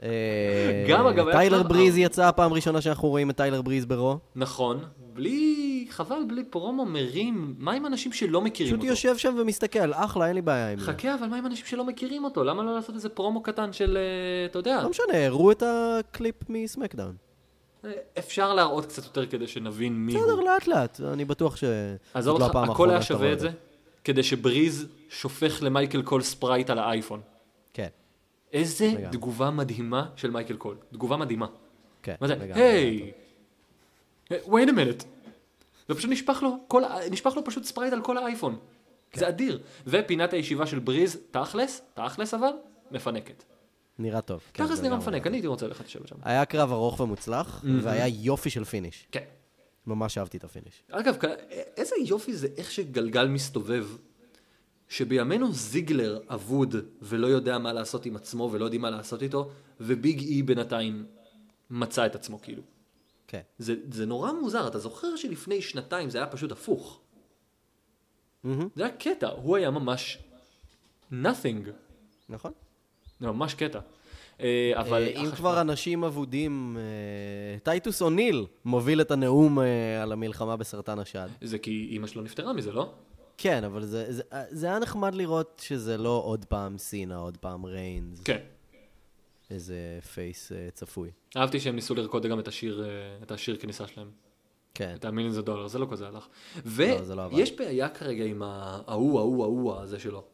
אה, גם, אגב, היה טיילר קרב- בריז יצא הפעם הראשונה שאנחנו רואים את טיילר בריז ברו. נכון, בלי... חבל, בלי פרומו מרים. מה עם אנשים שלא מכירים פשוט אותו? יושב שם ומסתכל, אחלה, אין לי בעיה עם זה. חכה, אבל מה עם אנשים שלא מכירים אותו? למה לא לעשות איזה פרומו קטן של, אה, אתה יודע, לא משנה, הראו את הקליפ מסמקדאון. אפשר להראות קצת יותר כדי שנבין מי הוא. בסדר, לא. לאט לאט, אני בטוח ש... עזוב זאת לא אותך, הפעם הכל היה האחרונה שאתה שווה רואה את זה, כדי שבריז שופך למייקל קול ספרייט על האייפון. כן, איזה לגמרי. תגובה מדהימה של מייקל קול. תגובה מדהימה. כן. מה זה? לגמרי. היי! אה, wait a minute. ופשוט נשפך לו, כל, ה- נשפך לו פשוט ספרייט על כל האייפון. כן. זה אדיר. ופינת הישיבה של בריז, תכלס, תכלס אבל, מפנקת. נראה טוב. כן, תכלס זה נראה לגמרי. מפנק, אני הייתי רוצה ללכת לשבת שם. היה קרב ארוך ומוצלח, והיה יופי של פיניש. כן. ממש אהבתי את הפיניש. אגב, כ- איזה יופי זה איך שגלגל מסתובב, שבימינו זיגלר אבוד ולא יודע מה לעשות עם עצמו ולא יודעים מה לעשות איתו, וביג אי בינתיים מצא את עצמו כאילו. כן. זה, זה נורא מוזר, אתה זוכר שלפני שנתיים זה היה פשוט הפוך. זה היה קטע, הוא היה ממש nothing, נכון? זה ממש קטע. אה, אבל אה, אם החשמל- כבר אנשים אבודים, אה, טייטוס אוניל מוביל את הנאום אה, על המלחמה בסרטן השד. זה כי אימא שלו נפטרה מזה, לא? כן, אבל זה- זה- אה, זה היה נחמד לראות שזה לא עוד פעם סינה, עוד פעם ריינס, כן. איזה פייס אה, צפוי. אהבתי שהם ניסו לרקוד גם את השיר, אה, את השיר כניסה שלהם. כן. את המיליון זה דולר, זה לא כזה הלך. לא, זה לא עבד. ויש בעיה כרגע עם ההוא, ההוא, ההוא הזה שלו.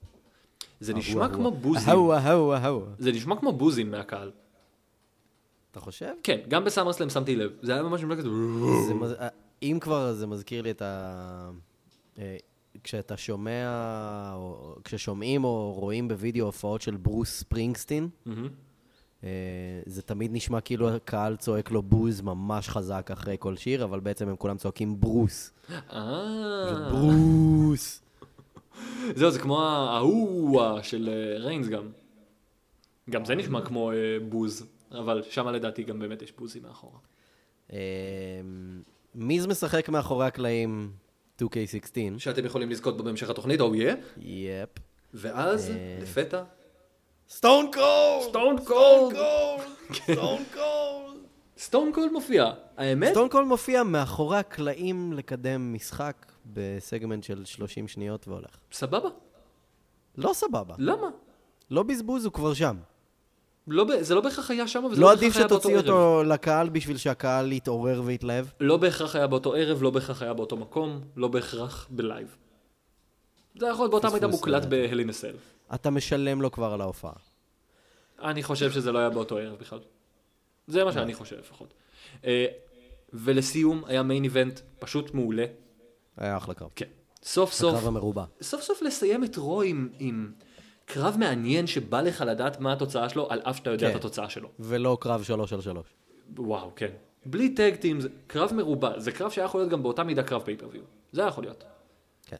זה נשמע כמו בוזים. אהו, אהו, אהו. זה נשמע כמו בוזים מהקהל. אתה חושב? כן, גם בסאמרסלאם שמתי לב. זה היה ממש נשמע כזה... זה מז- אה, אם כבר, זה מזכיר לי את ה... אה, כשאתה שומע, או כששומעים או רואים בווידאו הופעות של ברוס ספרינגסטין, אה, זה תמיד נשמע כאילו הקהל צועק לו בוז ממש חזק אחרי כל שיר, אבל בעצם הם כולם צועקים ברוס. אה... ברוס! זהו, זה כמו ההוא אה, של אה, ריינס גם. גם זה נשמע כמו אה, בוז, אבל שם לדעתי גם באמת יש בוזים מאחורה. אה, מיז משחק מאחורי הקלעים 2K16. שאתם יכולים לזכות בו בהמשך התוכנית, או יהיה, יפ. ואז אה, לפתע... סטון קול! סטון קולד! סטון קולד מופיע. האמת? סטון קול מופיע מאחורי הקלעים לקדם משחק בסגמנט של 30 שניות והולך. סבבה. לא סבבה, למה? לא בזבוז, הוא כבר שם. לא, ב- זה לא בהכרח היה שם, וזה לא בהכרח עדיף היה באותו שתוציא ערב. אותו לקהל בשביל שהקהל יתעורר ויתלהב? לא בהכרח היה באותו ערב, לא בהכרח היה באותו מקום, לא בהכרח בלייב. זה יכול להיות באותה מידה פספוס, אה. מוקלט לדעתי. בהלינסל. אתה משלם לו כבר על ההופעה. אני חושב שזה לא היה באותו ערב בכלל. זה מה שאני חושב לפחות. אה, ולסיום היה מיין איבנט פשוט מעולה. היה אחלה קרב. כן. סוף סוף, הקרב המרובע. סוף סוף לסיים את רו עם, עם קרב מעניין שבא לך לדעת מה התוצאה שלו, על אף שאתה יודע כן. את התוצאה שלו. ולא קרב שלוש על שלוש. וואו, כן. בלי טאג טים, זה קרב מרובע, זה קרב שהיה יכול להיות גם באותה מידה קרב פייפריוויו. זה היה יכול להיות. כן.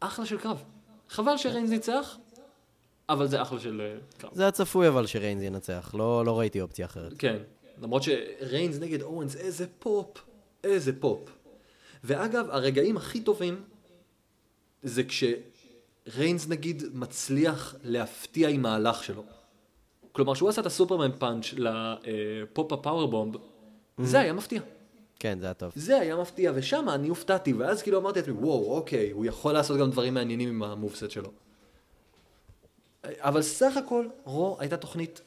אחלה של קרב. חבל שריינס ניצח, אבל זה אחלה של אה, קרב. זה היה צפוי אבל שריינז ינצח, לא, לא ראיתי אופציה אחרת. כן. למרות שריינס נגד אורנס, איזה פופ. איזה פופ. ואגב, הרגעים הכי טובים זה כשריינס נגיד מצליח להפתיע עם מהלך שלו. כלומר, שהוא עשה את הסופרמן פאנץ' אה, לפופ הפאוורבומב, זה היה מפתיע. כן, זה היה טוב. זה היה מפתיע, ושם אני הופתעתי, ואז כאילו אמרתי לעצמי, וואו, אוקיי, הוא יכול לעשות גם דברים מעניינים עם המובסט שלו. אבל סך הכל, רו הייתה תוכנית,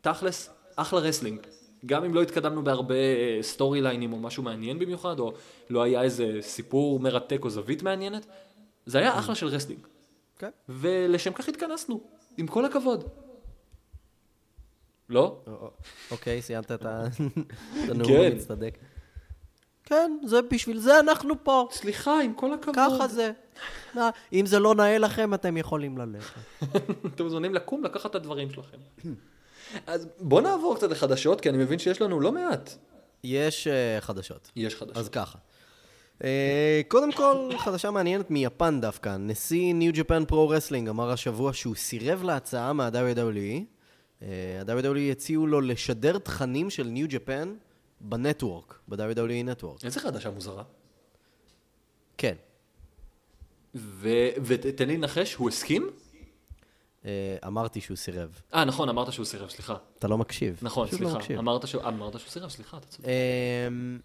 תכלס, אחלה רסלינג. גם אם לא התקדמנו בהרבה אה, סטורי ליינים או משהו מעניין במיוחד, או לא היה איזה סיפור מרתק או זווית מעניינת, זה היה אחלה של רסלינג. כן. ולשם כך התכנסנו, עם כל הכבוד. לא? א- א- אוקיי, סיימת את ה- את הנאום כן. המצטדק. כן, זה בשביל זה אנחנו פה. סליחה, עם כל הכבוד. ככה זה. נא- אם זה לא נאה לכם, אתם יכולים ללכת. אתם מוזמנים לקום, לקחת את הדברים שלכם. אז בוא נעבור קצת לחדשות, כי אני מבין שיש לנו לא מעט. יש אה, חדשות. יש חדשות. אז ככה. אה, קודם כל, חדשה מעניינת מיפן דווקא. נשיא ניו ג'פן פרו רסלינג אמר השבוע שהוא סירב להצעה מה-WWE. אה, ה-WWE הציעו לו לשדר תכנים של ניו ג'פן בנטוורק, ב-WWE נטוורק. איזה חדשה מוזרה. כן. ותן לי לנחש, הוא הסכים? אה, אמרתי שהוא סירב. אה, נכון, אמרת שהוא סירב, סליחה. אתה לא מקשיב. נכון, פשוט לא סליחה. מקשיב. אמרת שהוא אמרת שהוא סירב, סליחה, אתה צודק. אמ,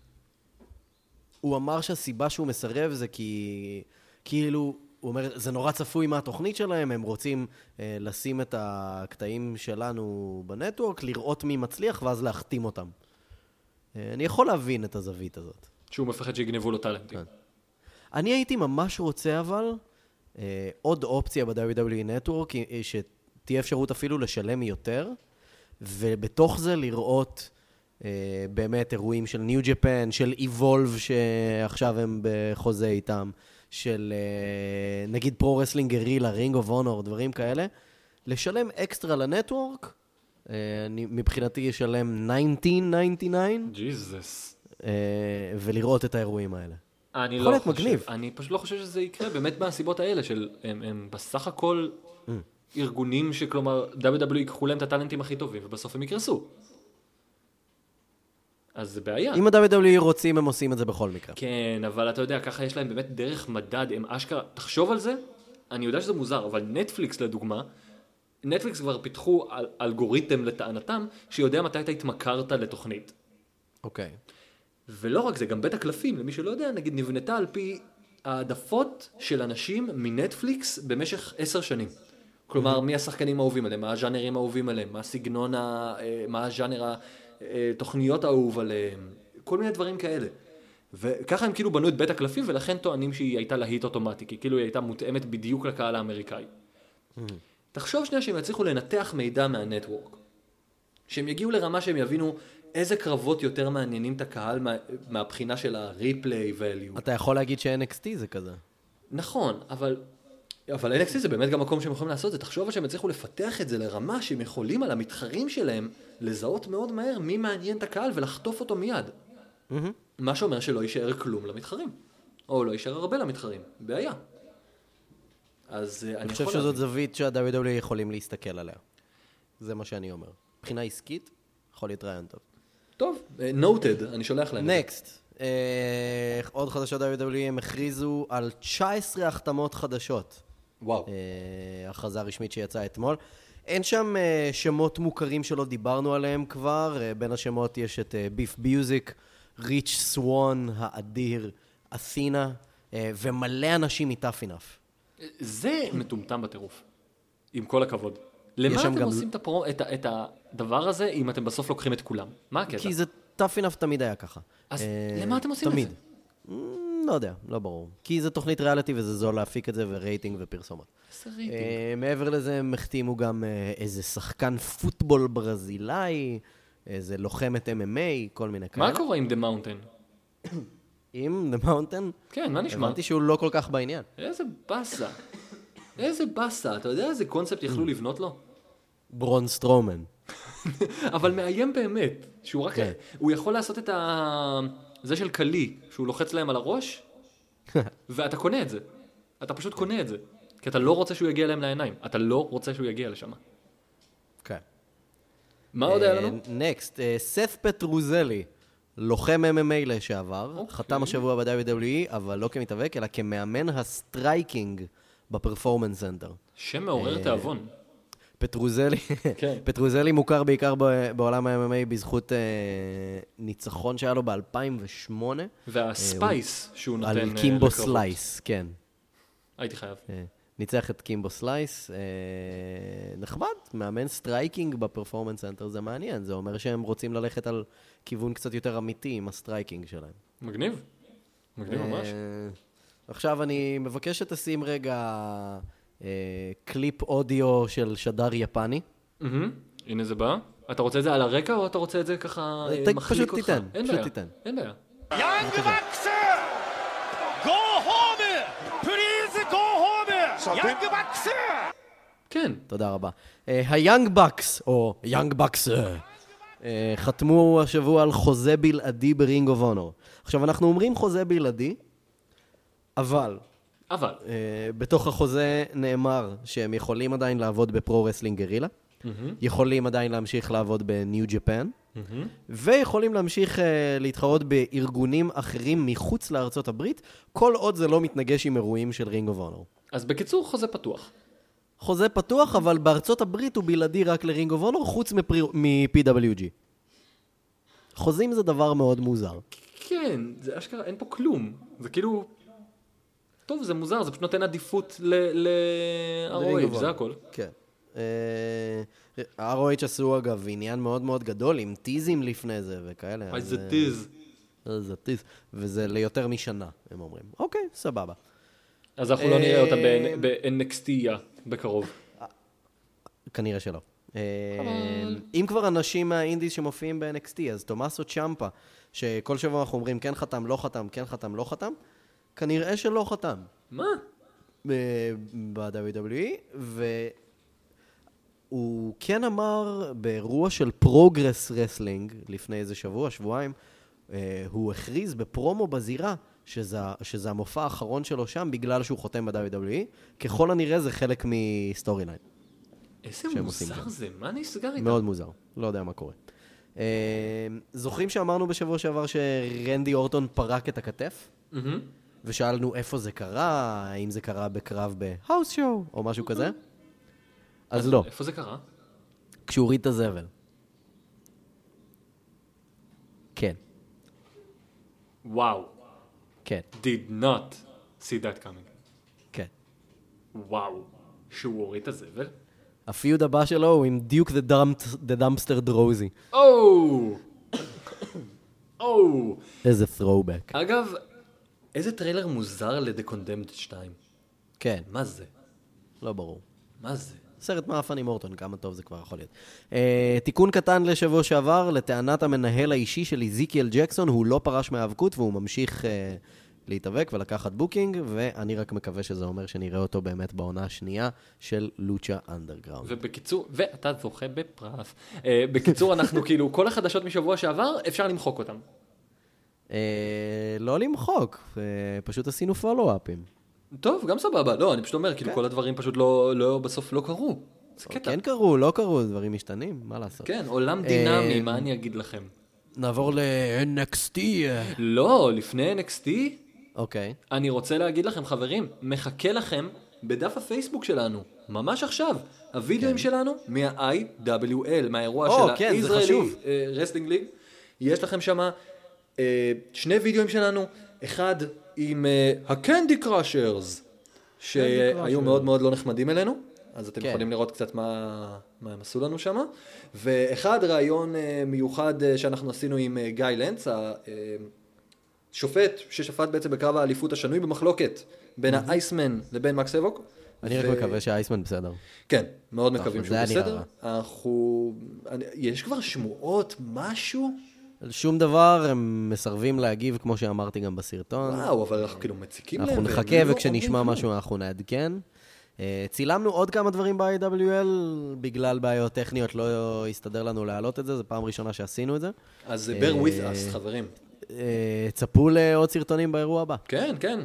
הוא אמר שהסיבה שהוא מסרב זה כי כאילו, הוא אומר, זה נורא צפוי מהתוכנית שלהם, הם רוצים אה, לשים את הקטעים שלנו בנטוורק, לראות מי מצליח ואז להחתים אותם. אה, אני יכול להבין את הזווית הזאת. שהוא מפחד שיגנבו לו טאלנטים. כן. אני הייתי ממש רוצה אבל אה, עוד אופציה ב-WWE Network, אה, שתהיה אפשרות אפילו לשלם יותר, ובתוך זה לראות אה, באמת אירועים של ניו ג'פן, של Evolve שעכשיו הם בחוזה איתם, של אה, נגיד פרו-רסלינג גרילה, רינג אוף אונור, דברים כאלה. לשלם אקסטרה לנטוורק, אה, אני מבחינתי אשלם 1999, ג'יזוס. אה, ולראות את האירועים האלה. אני יכול לא להיות חושב, מגניב. אני פשוט לא חושב שזה יקרה, באמת מהסיבות האלה של הם, הם בסך הכל Mm. ארגונים שכלומר WWE ייקחו להם את הטאלנטים הכי טובים ובסוף הם יקרסו. אז זה בעיה. אם ה-WWE רוצים, הם עושים את זה בכל מקרה. כן, אבל אתה יודע, ככה יש להם באמת דרך מדד, הם אשכרה, תחשוב על זה, אני יודע שזה מוזר, אבל נטפליקס לדוגמה, נטפליקס כבר פיתחו אל- אלגוריתם לטענתם, שיודע מתי אתה התמכרת לתוכנית. אוקיי. ולא רק זה, גם בית הקלפים, למי שלא יודע, נגיד נבנתה על פי העדפות של אנשים מנטפליקס במשך עשר שנים. כלומר, מי השחקנים האהובים עליהם, מה הז'אנרים האהובים עליהם, מה הסגנון, ה... אה, מה הז'אנר, התוכניות האהוב עליהם, כל מיני דברים כאלה. וככה הם כאילו בנו את בית הקלפים, ולכן טוענים שהיא הייתה להיט אוטומטי, כי כאילו היא הייתה מותאמת בדיוק לקהל האמריקאי. תחשוב שנייה שהם יצליחו לנתח מידע מהנטוורק. שהם יגיעו לרמה שהם יבינו איזה קרבות יותר מעניינים את הקהל מה, מהבחינה של הריפליי value. אתה יכול להגיד ש-NXT זה כזה. נכון, אבל... אבל NXT זה באמת גם מקום שהם יכולים לעשות את זה. תחשוב שהם יצליחו לפתח את זה לרמה שהם יכולים על המתחרים שלהם לזהות מאוד מהר מי מעניין את הקהל ולחטוף אותו מיד. מה שאומר שלא יישאר כלום למתחרים. או לא יישאר הרבה למתחרים. בעיה. אז אה, אני, אני חושב יכול שזאת זווית שה-WWE יכולים להסתכל עליה. זה מה שאני אומר. מבחינה עסקית, יכול להיות רעיון טוב. טוב, נוטד, אני שולח להם. את זה. נקסט. אה, עוד חדשות WWE, הם הכריזו על 19 החתמות חדשות. וואו. אה, הכרזה רשמית שיצאה אתמול. אין שם אה, שמות מוכרים שלא דיברנו עליהם כבר, אה, בין השמות יש את אה, ביף ביוזיק, ריץ' סוואן האדיר, אתינה, אה, ומלא אנשים מטאפינאף. זה מטומטם בטירוף, עם כל הכבוד. למה אה, יש שם אתם גם- עושים את, הפרו... את, ה... את הדבר הזה אם אתם בסוף לוקחים את כולם? מה הקטע? כי זה טאפינאף תמיד היה ככה. כן. אז אה, למה אתם עושים את תמיד. זה? Mm, לא יודע, לא ברור. כי זה תוכנית ריאליטי וזה זול להפיק את זה ורייטינג ופרסומות. איזה רייטינג. אה, מעבר לזה הם החתימו גם אה, איזה שחקן פוטבול ברזילאי, איזה לוחמת MMA, כל מיני כאלה. מה קורה עם The Mountain? עם The Mountain. כן, מה נשמע? הבנתי שהוא לא כל כך בעניין. איזה באסה. איזה באסה. אתה יודע איזה קונספט Mm. יכלו לבנות לו? ברון סטרומן. אבל מאיים באמת. שהוא רק... כן. הוא יכול לעשות את ה... זה של קלי, שהוא לוחץ להם על הראש, ואתה קונה את זה. אתה פשוט קונה את זה. כי אתה לא רוצה שהוא יגיע להם לעיניים. אתה לא רוצה שהוא יגיע לשם. כן. מה עוד היה לנו? נקסט, אה, סף פטרוזלי, לוחם MMA לשעבר, אוקיי. חתם השבוע ב-WWE, אבל לא כמתאבק, אלא כמאמן הסטרייקינג בפרפורמנס סנטר. שם אה, מעורר תיאבון. פטרוזלי, כן. פטרוזלי מוכר בעיקר ב- בעולם ה-MMA בזכות אה, ניצחון שהיה לו ב-2008 והספייס שהוא נותן... אה, על אה, קימבו לקרבות. סלייס, כן. הייתי חייב. אה, ניצח את קימבו סלייס, אה, נחמד, מאמן סטרייקינג בפרפורמנס סנטר זה מעניין, זה אומר שהם רוצים ללכת על כיוון קצת יותר אמיתי עם הסטרייקינג שלהם. מגניב. מגניב ממש. אה, עכשיו אני מבקש שתשים רגע אה, קליפ אודיו של שדר יפני. מהמם. הנה זה בא. אתה רוצה את זה על הרקע או אתה רוצה את זה ככה אה, ת- מחליק פשוט אותך? תיתן, אין פשוט בעיה. תיתן. אין בעיה. Young Bucks, go home. Please go home. Young Bucks. כן. תודה רבה. אה, היאנג בקס, או יאנג בקס, אה, חתמו השבוע על חוזה בלעדי ברינג אוף אונור. עכשיו, אנחנו אומרים חוזה בלעדי, אבל אבל. אה, בתוך החוזה נאמר שהם יכולים עדיין לעבוד בפרו-רסלינג גרילה, יכולים עדיין להמשיך לעבוד בניו ג'פן, ויכולים להמשיך אה, להתחרות בארגונים אחרים מחוץ לארצות הברית, כל עוד זה לא מתנגש עם אירועים של רינג אוף אונור. אז בקיצור, חוזה פתוח. חוזה פתוח, אבל בארצות הברית הוא בלעדי רק לרינג אוף אונור, חוץ מפרי- מ-PWG. חוזים זה דבר מאוד מוזר. כן, זה אשכרה, אין פה כלום. זה כאילו... טוב, זה מוזר, זה פשוט נותן עדיפות ל-ROH, זה הכל. כן. אה, ROH עשו אגב עניין מאוד מאוד גדול עם טיזים לפני זה וכאלה. אוי, אז, זה אה, טיז. איזה טיז. וזה ליותר משנה, הם אומרים. אוקיי, סבבה. אז אנחנו לא נראה אותם אה, ב-NXT בקרוב. כנראה שלא. אה, אם כבר אנשים מהאינדיז שמופיעים ב-NXT, אז תומאסו צ'מפה, שכל שבוע אנחנו אומרים כן חתם, לא חתם, כן חתם, לא חתם, כנראה שלא חתם אה, מה? ב- ב-WWE, E, והוא כן אמר באירוע של פרוגרס רסלינג, לפני איזה שבוע, שבועיים, אה, הוא הכריז בפרומו בזירה שזה, שזה המופע האחרון שלו שם בגלל שהוא חותם ב-WWE, ככל הנראה זה חלק מסטורי ליין. איזה שהם עושים מוזר שם. זה, מה נסגר איתם? מאוד מוזר, לא יודע מה קורה. אה, זוכרים שאמרנו בשבוע שעבר שרנדי אורטון פרק את הכתף? ושאלנו איפה זה קרה, האם זה קרה בקרב בהאוס שואו או משהו כזה? אז לא, איפה זה קרה? כשהוא הוריד את הזבל. כן, וואו. כן, did not see that coming. כן. וואו, שהוא הוריד את הזבל? הפיוד הבא שלו הוא עם דיוק דה דמפסטר דרוזי. או! או! איזה throwback. אגב, איזה טריילר מוזר ל-The Condemned 2. כן, מה זה? לא ברור. מה זה? סרט מעפן עם אורטון, כמה טוב זה כבר יכול להיות. Uh, תיקון קטן לשבוע שעבר, לטענת המנהל האישי של איזיקיאל ג'קסון, הוא לא פרש מהאבקות והוא ממשיך uh, להתאבק ולקחת בוקינג, ואני רק מקווה שזה אומר שנראה אותו באמת בעונה השנייה של לוצ'ה אנדרגראונד. ובקיצור, ואתה זוכה בפרס. אה, בקיצור, אנחנו כאילו, כל החדשות משבוע שעבר, אפשר למחוק אותן. Uh, לא למחוק, uh, פשוט עשינו פולו-אפים. טוב, גם סבבה. לא, אני פשוט אומר, כאילו, כל הדברים פשוט לא, לא, בסוף לא קרו. זה קטע. כן קרו, לא קרו, דברים משתנים, מה לעשות. כן, עולם דינמי, אה, מה אני אגיד לכם? נעבור ל-NXT. לא, לפני NXT, אוקיי, אני רוצה להגיד לכם, חברים, מחכה לכם בדף הפייסבוק שלנו, ממש עכשיו, הווידאוים שלנו מה-IWL, מהאירוע כן. או, של כן, זה הישראלי חשוב. רסטינג ליג. יש לכם שם שני וידאוים שלנו, אחד עם אה, הקנדי קראשרס, שהיו מאוד מאוד לא נחמדים אלינו, אז אתם כן. יכולים לראות קצת מה, מה הם עשו לנו שם, ואחד ראיון אה, מיוחד אה, שאנחנו עשינו עם אה, גיא לנץ, ה- אה, שופט ששפט בעצם בקרב האליפות השנוי במחלוקת בין האייסמן לבין מקס אבוק. אני רק ו- מקווה שהאייסמן בסדר. כן, מאוד טוב, מקווים זה שהוא היה נראה בסדר. אנחנו... אני- יש כבר שמועות, משהו? על שום דבר, הם מסרבים להגיב, כמו שאמרתי גם בסרטון. וואו, אבל אנחנו כאילו מציקים להם. אנחנו והם נחכה, לא אומרים וכשנשמע כלום. משהו אנחנו נעדכן. אה, צילמנו עוד כמה דברים ב-IWL, בגלל בעיות טכניות לא הסתדר לנו להעלות את זה, זו פעם ראשונה שעשינו את זה. אז זה bear with us, חברים. אה, צפו לעוד סרטונים באירוע הבא. כן, כן.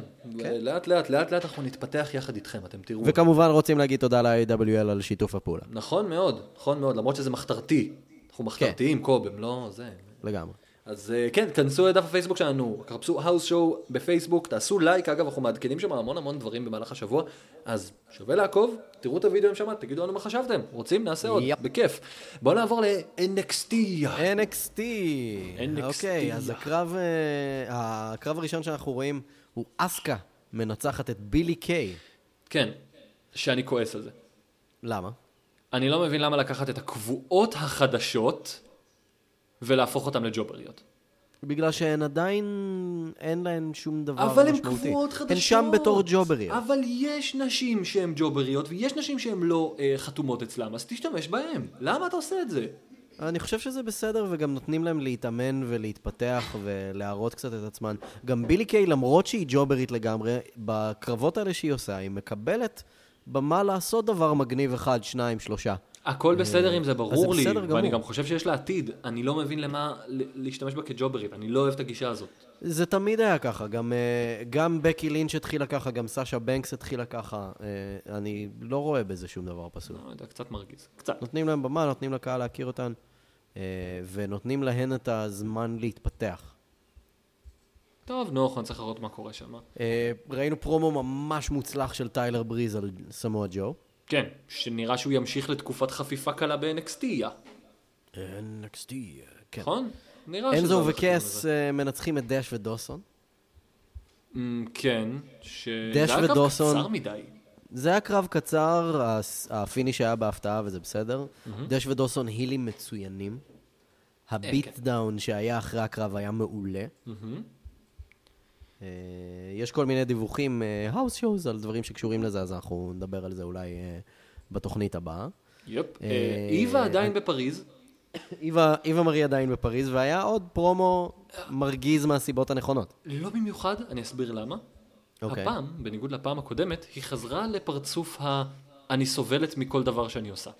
לאט לאט, לאט לאט אנחנו נתפתח יחד איתכם, אתם תראו. וכמובן רוצים להגיד תודה ל-IWL על שיתוף הפעולה, נכון מאוד, נכון מאוד, למרות שזה מחתרתי. כן. אנחנו מחתרתיים, קוב, הם לא זה. לגמרי. אז אה, כן, כנסו לדף הפייסבוק שלנו, חפשו האוס שואו בפייסבוק, תעשו לייק, אגב, אנחנו מעדכנים שם המון המון דברים במהלך השבוע, אז שווה לעקוב, תראו את הוידאוים שם, תגידו לנו מה חשבתם, רוצים? נעשה עוד, יפ. בכיף. בואו נעבור ל-NXT. NXT. NXT. אוקיי, אז הקרב, אה, הקרב הראשון שאנחנו רואים הוא אסקה מנצחת את בילי קיי. כן, שאני כועס על זה. למה? אני לא מבין למה לקחת את הקבועות החדשות ולהפוך אותן לג'ובריות. בגלל שהן עדיין, אין להן שום דבר אבל הן משמעותי. קבועות חדשות. הן שם בתור ג'ובריות. אבל יש נשים שהן ג'ובריות, ויש נשים שהן לא אה, חתומות אצלם, אז תשתמש בהן. למה אתה עושה את זה? אני חושב שזה בסדר, וגם נותנים להם להתאמן ולהתפתח ולהראות קצת את עצמן. גם בילי קיי, למרות שהיא ג'וברית לגמרי, בקרבות האלה שהיא עושה, היא מקבלת במה לעשות דבר מגניב אחד, שניים, שלושה. הכל בסדר אם זה ברור לי, אה, בסדר ואני גמור. גם חושב שיש לה עתיד. אני לא מבין למה ל- להשתמש בה כג'וברית, אני לא אוהב את הגישה הזאת. זה תמיד היה ככה, גם, אה, גם בקי לינץ' התחילה ככה, גם סאשה בנקס התחילה ככה. אה, אני לא רואה בזה שום דבר פסול. לא יודע, קצת מרגיז. קצת. נותנים להם במה, נותנים לקהל להכיר אותן, אה, ונותנים להן את הזמן להתפתח. טוב, נו, אנחנו נצטרך לראות מה קורה שם. אה, ראינו פרומו ממש מוצלח של טיילר בריז על סמואל ג'ו. כן, שנראה שהוא ימשיך לתקופת חפיפה קלה ב-NXT, כן. יא. NXT, כן. נכון? נראה שזה אנזו הולך לכיוון וקס הזה. אה, מנצחים את דש ודוסון. אמ, כן, ש... דש זה היה גם ודוסון. קצר מדי. זה היה קרב קצר, הס- הפיניש היה בהפתעה וזה בסדר. דש ודוסון הילים מצוינים. הביט דאון שהיה אחרי הקרב היה מעולה. אה, יש כל מיני דיווחים, האוס שואוז, על דברים שקשורים לזה, אז אנחנו נדבר על זה אולי אה, בתוכנית הבאה. יפ. אה, איווה עדיין בפריז. איווה איווה מרי עדיין בפריז, והיה עוד פרומו מרגיז מהסיבות הנכונות. לא במיוחד, אני אסביר למה. אוקיי. הפעם, בניגוד לפעם הקודמת, היא חזרה לפרצוף ה... אני סובלת מכל דבר שאני עושה.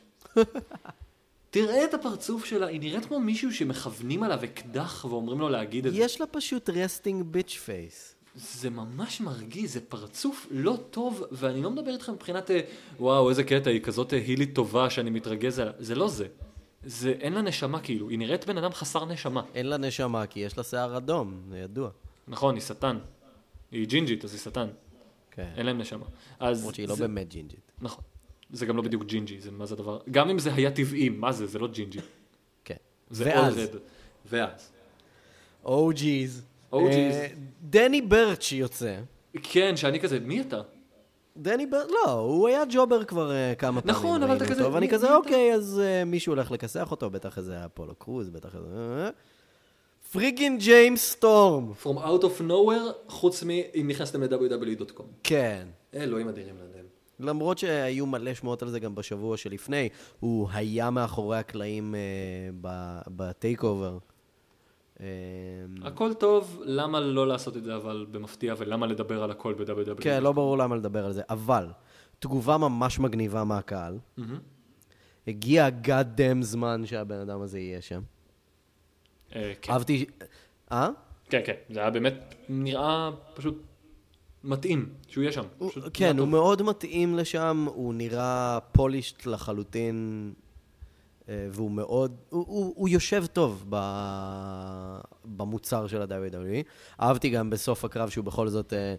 תראה את הפרצוף שלה, היא נראית כמו מישהו שמכוונים עליו אקדח ואומרים לו להגיד את זה. יש לה פשוט רסטינג ביץ' פייס. זה ממש מרגיז, זה פרצוף לא טוב, ואני לא מדבר איתך מבחינת, אה, וואו, איזה קטע, היא כזאת אה, הילית טובה שאני מתרגז עליה. זה לא זה. זה, אין לה נשמה כאילו, היא נראית בן אדם חסר נשמה. אין לה נשמה, כי יש לה שיער אדום, זה ידוע. נכון, היא שטן. היא ג'ינג'ית, אז היא שטן. כן. אין להם נשמה. אז... למרות שהיא לא זה- באמת ג'ינג'ית. נכון. זה גם לא בדיוק ג'ינג'י, זה מה זה הדבר. גם אם זה היה טבעי, מה זה? זה לא ג'ינג'י. כן. זה ואז, אולרד. ואז. OG's. OGs. אה, דני ברץ' יוצא. כן, שאני כזה, מי אתה? דני ברץ', לא, הוא היה ג'ובר כבר אה, כמה פעמים. נכון, אבל ראינו אתה אותו, כזה, ואני מי- מי כזה, אתה? אוקיי, אז אה, מישהו הולך לכסח אותו, בטח איזה אפולו קרוז, בטח איזה... אה, אה. פריגין ג'יימס סטורם. From out of nowhere, חוץ מ... אם נכנסתם ל-www.com. כן. אלוהים אדירים לדעת. Mm. למרות שהיו מלא שמועות על זה גם בשבוע שלפני, הוא היה מאחורי הקלעים אה, ב- בטייק אובר. אה, הכל טוב, למה לא לעשות את זה אבל במפתיע, ולמה לדבר על הכל E? ב-www? כן, לא ברור למה לדבר על זה, אבל תגובה ממש מגניבה מהקהל. הגיע הגאד דאם זמן שהבן אדם הזה יהיה שם. אה, כן. אהבתי... אה? כן, כן, זה היה באמת נראה פשוט מתאים, שהוא יהיה שם. הוא- פשוט נראה כן, הוא טוב. מאוד מתאים לשם, הוא נראה פולישט לחלוטין, אה, והוא מאוד, הוא- הוא הוא יושב טוב ב- במוצר של ה-WWE. אהבתי גם בסוף הקרב שהוא בכל זאת אה,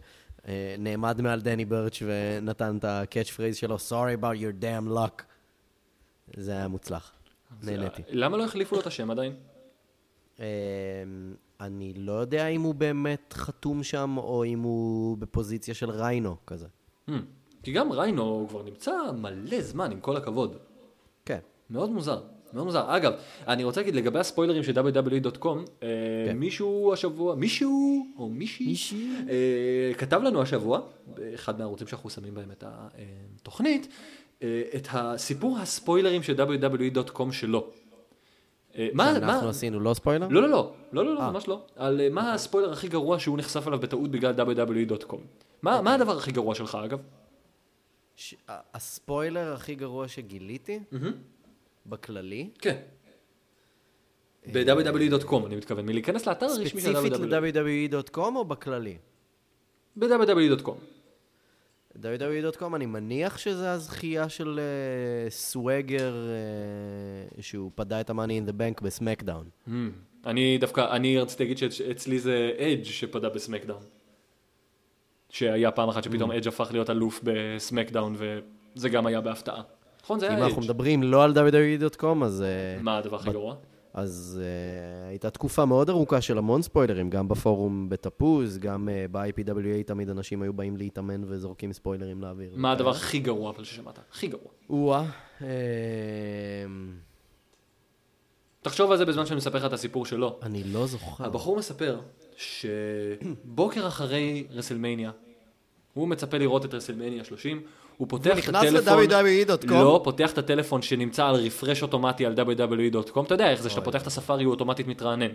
אה, נעמד מעל דני ברץ' ונתן את הקאץ' פרייז שלו, Sorry about your damn luck. זה היה מוצלח, זה- נהניתי. למה לא החליפו לו את השם עדיין? אה, אני לא יודע אם הוא באמת חתום שם, או אם הוא בפוזיציה של ריינו כזה. Hmm. כי גם ריינו הוא כבר נמצא מלא זמן, עם כל הכבוד. כן. מאוד מוזר, מאוד מוזר. אגב, אני רוצה להגיד לגבי הספוילרים של www.com, אה, כן. מישהו השבוע, מישהו או מישהי, מישהי. אה, כתב לנו השבוע, באחד מהערוצים שאנחנו שמים בהם את E התוכנית, אה, את הסיפור הספוילרים של www.com שלו. אה, אה, מה, אנחנו מה, עשינו לא ספוילר? לא, לא, לא, לא, לא, לא, ממש לא. על אה, אוקיי. מה הספוילר הכי גרוע שהוא נחשף אליו בטעות בגלל www.com. אוקיי. מה מה הדבר הכי גרוע שלך, אגב? ש- ה- הספוילר הכי גרוע שגיליתי, בכללי, כן. ב-www.com, אני מתכוון. מלהיכנס לאתר הרשמי של אה, E. ספציפית www.com. ל-www.com או בכללי? ב-www.com. www.com E אני מניח שזה הזכייה של אה, סוואגר אה, שהוא פדה את המאני אין דה בנק בסמקדאון. Hmm. אני דווקא, אני רציתי להגיד שאצלי זה אדג' שפדה בסמקדאון. שהיה פעם אחת Hmm. שפתאום אדג' הפך להיות אלוף בסמקדאון, וזה גם היה בהפתעה. נכון, זה אם היה אנחנו אדג'. מדברים לא על www.com אז, אה, מה הדבר הכי גרוע? אז אה, הייתה תקופה מאוד ארוכה של המון ספוילרים, גם בפורום בתפוז, גם אה, ב-IPWA תמיד אנשים היו באים להתאמן וזורקים ספוילרים לאוויר. מה הדבר הכי גרוע אבל ששמעת? הכי גרוע. או-אה. אה, תחשוב על זה בזמן שאני מספר לך את הסיפור שלו. אני לא זוכר. הבחור מספר שבוקר אחרי רסלמניה, הוא מצפה לראות את רסלמניה 30, הוא פותח את נכנס E הטלפון... ל-wwe.com. לא, פותח את הטלפון שנמצא על רפרש אוטומטי על www.com, אתה יודע איך זה, שאתה פותח את הספארי, הוא אוטומטית מתרענן.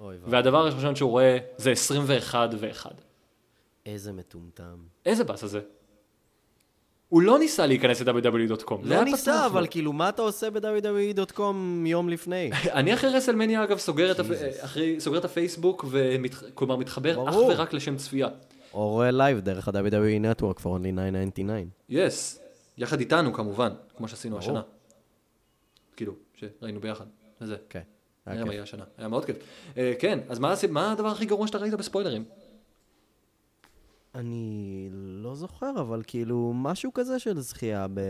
אוי ואבוי. והדבר הראשון שהוא רואה זה 21 ו-1. איזה מטומטם. איזה באסה זה? הוא לא ניסה להיכנס ל-ww.com. זה לא היה פתוח ניסה, לו. אבל כאילו, מה אתה עושה ב-wwe.com יום לפני? אני אחרי רסלמניה אגב סוגר את, הפ... אחרי... סוגר את הפייסבוק, ומת... כלומר מתחבר אך ברור. ורק לשם צפייה. או רואה לייב דרך ה-WWE Network for only 999. יס, יחד איתנו כמובן, כמו שעשינו השנה. כאילו, שראינו ביחד, וזה. כן. היה היה גם כיף. היה השנה, היה מאוד כיף. אה, כן, אז מה הסי- מה הדבר הכי גרוע שאתה ראית בספוילרים? אני לא זוכר, אבל כאילו, משהו כזה של זכייה ב...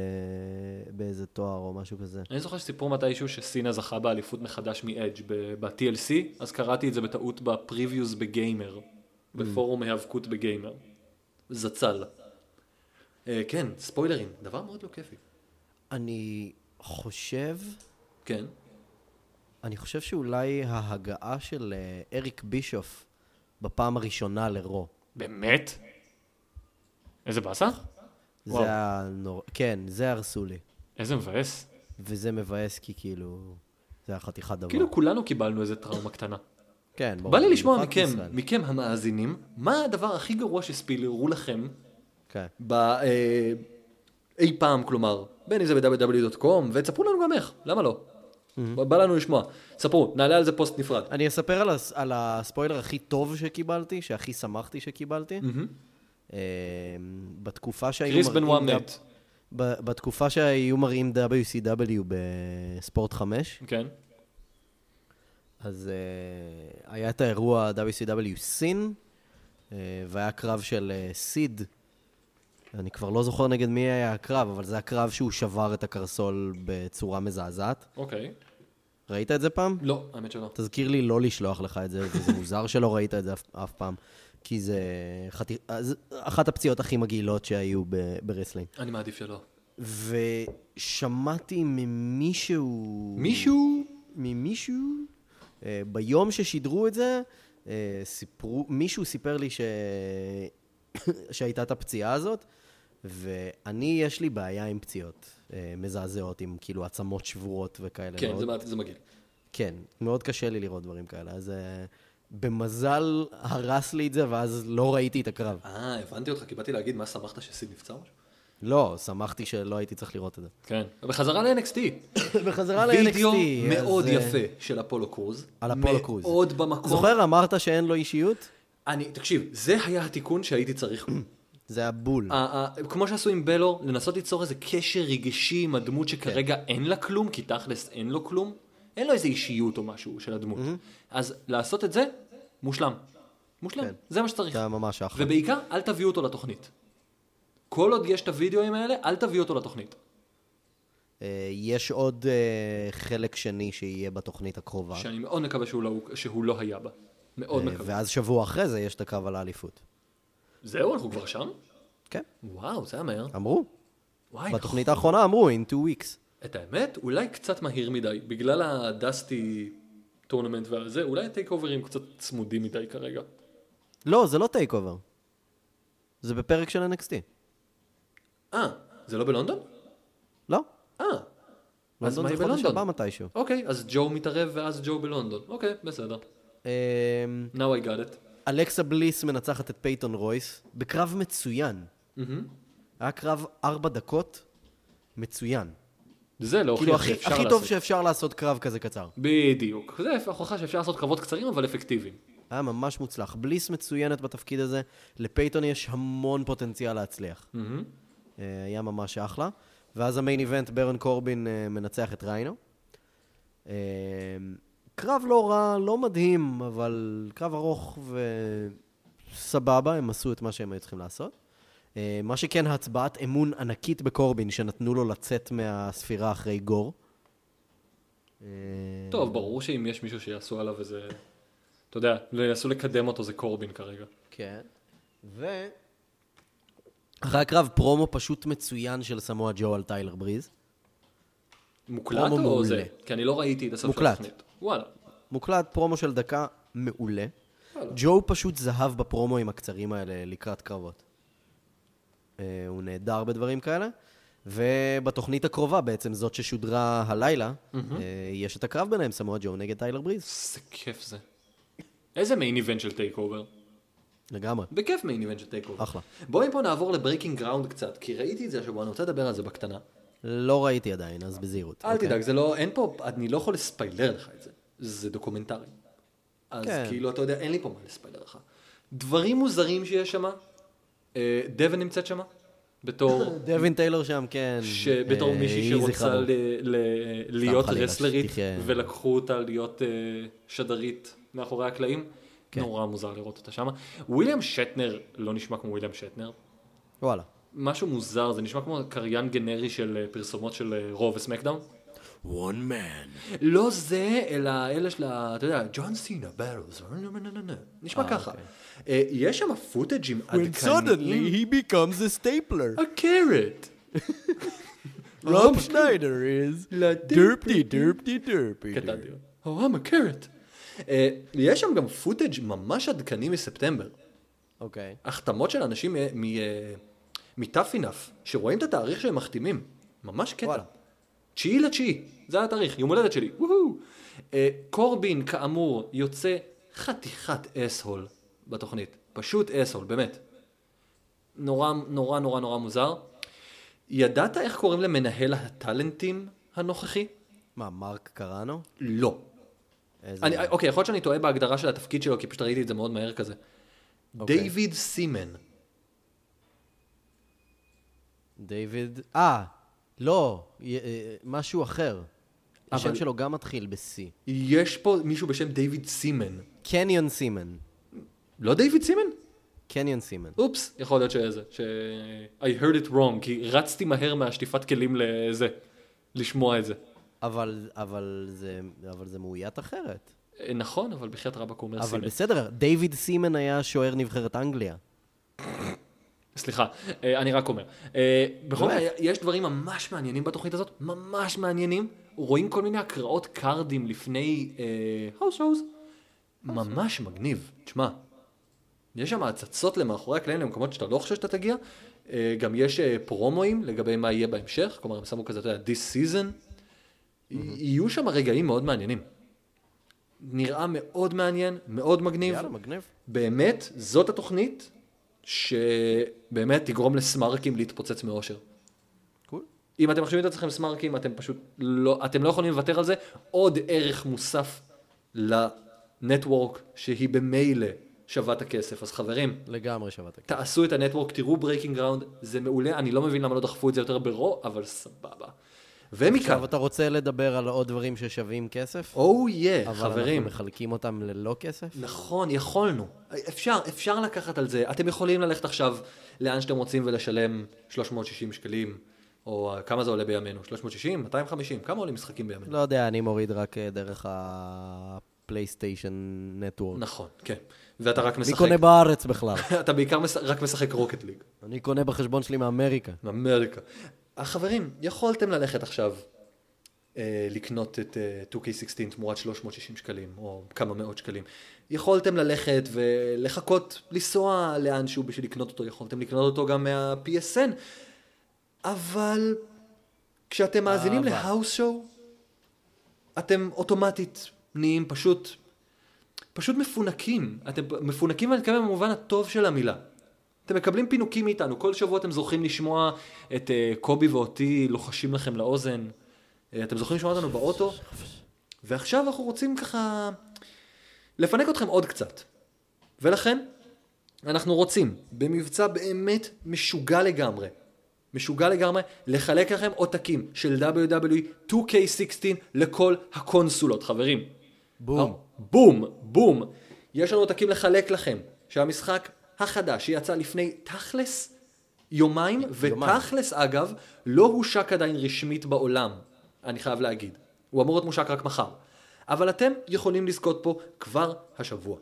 באיזה תואר או משהו כזה. אני זוכר שסיפרו מתישהו שסינה זכה באליפות מחדש מאדג' ב- ב-TLC, אז קראתי את זה בטעות בפריוויוז בגיימר, Mm. בפורום היאבקות בגיימר. זצ"ל. אה, כן, ספוילרים, דבר מאוד לא כיפי. אני חושב, כן. אני חושב שאולי ההגעה של אה, אריק בישוף בפעם הראשונה לרו. באמת? איזה באסה? זה וואו. היה נורא... כן, זה הרסו לי. איזה מבאס. וזה מבאס כי כאילו, זה היה חתיכת דבר. כאילו כולנו קיבלנו איזה טראומה קטנה. כן, ברור. בא לי לשמוע במיוחד מכם, בישראל. מכם המאזינים, מה הדבר הכי גרוע שספילרו לכם כן. ב, אה, אי פעם, כלומר, בין אם זה ב-www.com, ותספרו לנו גם איך, למה לא? בא לנו לשמוע. ספרו, נעלה על זה פוסט נפרד. Mm-hmm. אני אספר על, הס... על הספוילר הכי טוב שקיבלתי, שהכי שמחתי שקיבלתי. אה, בתקופה שהיו קריס מראים... בנואה ד- מת. ב- בתקופה שהיו מראים WCW בספורט 5, כן. אז אה, היה את האירוע WCW סין, אה, והיה קרב של אה, סיד. אני כבר לא זוכר נגד מי היה הקרב, אבל זה הקרב שהוא שבר את הקרסול בצורה מזעזעת. אוקיי. ראית את זה פעם? לא, האמת שלא. תזכיר לי לא לשלוח לך את זה, וזה מוזר שלא ראית את זה אף, אף פעם, כי זה חתי... אז אחת הפציעות הכי מגעילות שהיו ב- ברסלינג. אני מעדיף שלא. ושמעתי ממישהו... מישהו? ממישהו? אה, ביום ששידרו את זה, אה, סיפרו, מישהו סיפר לי ש... שהייתה את הפציעה הזאת, ואני, יש לי בעיה עם פציעות אה, מזעזעות, עם כאילו עצמות שבורות וכאלה. כן, מאוד. זה, מעט- זה מגעיל. כן, מאוד קשה לי לראות דברים כאלה, אז אה, במזל הרס לי את זה, ואז לא ראיתי את הקרב. אה, הבנתי אותך, כי באתי להגיד, מה שמחת שסיד נפצע או משהו? לא, שמחתי שלא הייתי צריך לראות את זה. כן. בחזרה ל-NXT. בחזרה ל-NXT. וידאו אז, מאוד אה, יפה של אפולו קרוז. על הפולו קרוז. מאוד במקום. זוכר, אמרת שאין לו אישיות? אני, תקשיב, זה היה התיקון שהייתי צריך. זה היה בול. ה- ה- כמו שעשו עם בלור, לנסות ליצור איזה קשר רגשי עם הדמות שכרגע כן. אין לה כלום, כי תכלס אין לו כלום. אין לו איזה אישיות או משהו של הדמות. אז לעשות את זה, מושלם. מושלם, זה מה שצריך. כן. זה היה ממש אחלה. ובעיקר, אל תביאו אותו לתוכנית. כל עוד יש את הוידאוים האלה, אל תביאו אותו לתוכנית. אה, יש עוד אה, חלק שני שיהיה בתוכנית הקרובה. שאני מאוד מקווה שהוא לא, שהוא לא היה בה. מאוד אה, מקווה. ואז שבוע אחרי זה יש את הקרב על האליפות. זהו, אנחנו כבר שם? כן, וואו, זה היה מהר. אמרו. וואי, בתוכנית האחרונה אמרו, in two weeks. את האמת, אולי קצת מהיר מדי, בגלל הדסטי טורנמנט והזה, אולי הטייק אוברים קצת צמודים מדי כרגע. לא, זה לא טייק אובר. זה בפרק של NXT. אה, זה לא בלונדון? לא? אה, אז מה לונדון היא זה חודש הבא בלונדון? מתישהו. אוקיי, אז ג'ו מתערב ואז ג'ו בלונדון. אוקיי, בסדר. אמ, Now I got it. אלכסה בליס מנצחת את פייתון רויס בקרב מצוין. היה קרב ארבע דקות, מצוין. זה לא כאילו, הוכיח הכי שאפשר הכי טוב לעשות. שאפשר לעשות קרב כזה קצר. בדיוק. זה הוכחה שאפשר לעשות קרבות קצרים אבל אפקטיביים. היה ממש מוצלח. בליס מצוינת בתפקיד הזה, לפייתון יש המון פוטנציאל להצליח. אה, היה ממש אחלה. ואז המיין איבנט, ברן קורבין אה, מנצח את ריינו. אה, קרב לא רע, לא מדהים, אבל קרב ארוך וסבבה, הם עשו את מה שהם היו צריכים לעשות. אה, מה שכן, הצבעת אמון ענקית בקורבין, שנתנו לו לצאת מהספירה אחרי גור. אה, טוב, ברור שאם יש מישהו שיעשו עליו איזה... אתה יודע, לא ינסו לקדם אותו זה קורבין כרגע. כן. ו... אחרי הקרב, פרומו פשוט מצוין של סמואה ג'ו על טיילר בריז. מוקלט פרומו או מעולה. זה? כי אני לא ראיתי את הסוף של מוקלט. התוכנית. וואלה. מוקלט פרומו של דקה מעולה. ג'ו פשוט זהב בפרומואים הקצרים האלה לקראת קרבות. אה, הוא נהדר בדברים כאלה. ובתוכנית הקרובה בעצם, זאת ששודרה הלילה, אה, יש את הקרב ביניהם, סמואה ג'ו נגד טיילר בריז. איזה כיף זה. איזה מיין איבנט של טייק אובר? לגמרי. בכיף מיין איבנט של טייק אובר. אחלה. בואי מפה נעבור לברייקינג גראונד קצת, כי ראיתי את זה השבוע, אני רוצה לדבר על זה בקטנה. לא ראיתי עדיין, אז בזהירות. אל אוקיי. תדאג, זה לא, אין פה, אני לא יכול לספיילר לך את זה. זה דוקומנטרי. אז כן. כאילו, אתה יודע, אין לי פה מה לספיילר לך. דברים מוזרים שיש שם, דבן נמצאת שם, בתור... דווין טיילור שם, כן. שבתור אה, מישהי יהי שרוצה זכרה ברוך. ל, ל, להיות חלילה, רסלרית, שתחיה. ולקחו אותה להיות אה, שדרית מאחורי הקלעים, כן. נורא מוזר לראות אותה שמה. וויליאם שטנר לא נשמע כמו וויליאם שטנר, וואלה. משהו מוזר, זה נשמע כמו קריין גנרי של אה, פרסומות של אה, רו וסמקדאון. One man. לא זה, אלא אלה של ה... אתה יודע, ג'ון סינה, ברלס, נשמע ככה. אוקיי. אה, יש שם פוטג'ים עדכניים. he becomes a stapler. A carrot. Rob Schneider is derpty derpty derpy. קטנתי לו. Oh, I'm a carrot. אה, יש שם גם פוטאג' ממש עדכני מספטמבר. אוקיי. החתמות של אנשים אה, מ- אה, מטאפינאף, שרואים את התאריך שהם מחתימים. ממש קטע. וואלה. תשיעי לתשיעי, זה התאריך, יום הולדת שלי. וואו. אה, קורבין, כאמור, יוצא חתיכת אסהול בתוכנית. פשוט אסהול, באמת. נורא נורא נורא נורא מוזר. ידעת איך קוראים למנהל הטאלנטים הנוכחי? מה, מרק קראנו? לא. איזה... אני, אוקיי, יכול להיות שאני טועה בהגדרה של התפקיד שלו, כי פשוט ראיתי את זה מאוד מהר כזה. אוקיי. דיוויד סימן. דיוויד... אה, לא, י- אה, משהו אחר. השם שלו גם מתחיל ב-C. יש פה מישהו בשם דיוויד סימן. קניון סימן. לא דיוויד סימן? קניון סימן. אופס, יכול להיות שזה, ש... I heard it wrong, כי רצתי מהר מהשטיפת כלים לזה, לשמוע את זה. אבל, אבל זה, אבל זה מאוית אחרת. אה, נכון, אבל בחייאת רבאק הוא אומר אבל סימן. בסדר, דיוויד סימן היה שוער נבחרת אנגליה. סליחה, אה, אני רק אומר. אה, בכל באמת? מקרה, יש דברים ממש מעניינים בתוכנית הזאת, ממש מעניינים. רואים כל מיני הקראות קארדים לפני הוס הוז. ממש מגניב. תשמע, יש שם הצצות למאחורי הקלעים למקומות שאתה לא חושב שאתה תגיע. אה, גם יש אה, פרומואים לגבי מה יהיה בהמשך, כלומר הם שמו כזה, אתה יודע, this season. יהיו שם רגעים מאוד מעניינים. נראה מאוד מעניין, מאוד מגניב. יאללה, מגניב. באמת, זאת התוכנית שבאמת תגרום לסמארקים להתפוצץ מאושר. קול. אם אתם מחשבים את עצמכם סמארקים, אתם פשוט לא, אתם לא יכולים לוותר על זה. עוד ערך מוסף לנטוורק, שהיא במילא שווה את הכסף. אז חברים, לגמרי שווה את תעשו את הנטוורק, תראו ברייקינג גראונד, זה מעולה, אני לא מבין למה לא דחפו את זה יותר ברו, אבל סבבה. ומכאן, עכשיו אתה רוצה לדבר על עוד דברים ששווים כסף? או יא, אבל חברים. אנחנו מחלקים אותם ללא כסף? נכון, יכולנו. אפשר, אפשר לקחת על זה. אתם יכולים ללכת עכשיו לאן שאתם רוצים ולשלם 360 שקלים, או אה, כמה זה עולה בימינו? 360? 250? כמה עולים משחקים בימינו? לא יודע, אני מוריד רק אה, דרך הפלייסטיישן נטוורק. נכון, כן. ואתה רק מי משחק... קונה בארץ בכלל? אתה בעיקר מש... רק משחק רוקט ליג. אני קונה בחשבון שלי מאמריקה. אמריקה. החברים, יכולתם ללכת עכשיו אה, לקנות את אה, 2K16 תמורת 360 שקלים, או כמה מאות שקלים. יכולתם ללכת ולחכות לנסוע לאנשהו בשביל לקנות אותו, יכולתם לקנות אותו גם מה-PSN, אבל כשאתם מאזינים אהבה. להאוס שואו, אתם אוטומטית נהיים פשוט, פשוט מפונקים. אתם פ- מפונקים, ואני מתכוון במובן הטוב של המילה. אתם מקבלים פינוקים מאיתנו, כל שבוע אתם זוכים לשמוע את אה, קובי ואותי לוחשים לכם לאוזן. אה, אתם זוכרים לשמוע אותנו באוטו? ועכשיו אנחנו רוצים ככה לפנק אתכם עוד קצת. ולכן, אנחנו רוצים, במבצע באמת משוגע לגמרי, משוגע לגמרי, לחלק לכם עותקים של E WWE 2K16 לכל הקונסולות, חברים. בום. לא, בום, בום. יש לנו עותקים לחלק לכם, שהמשחק החדש שיצא לפני תכלס יומיים, ותכלס אגב, לא הושק עדיין רשמית בעולם, אני חייב להגיד. הוא אמור להיות מושק רק מחר. אבל אתם יכולים לזכות פה כבר השבוע.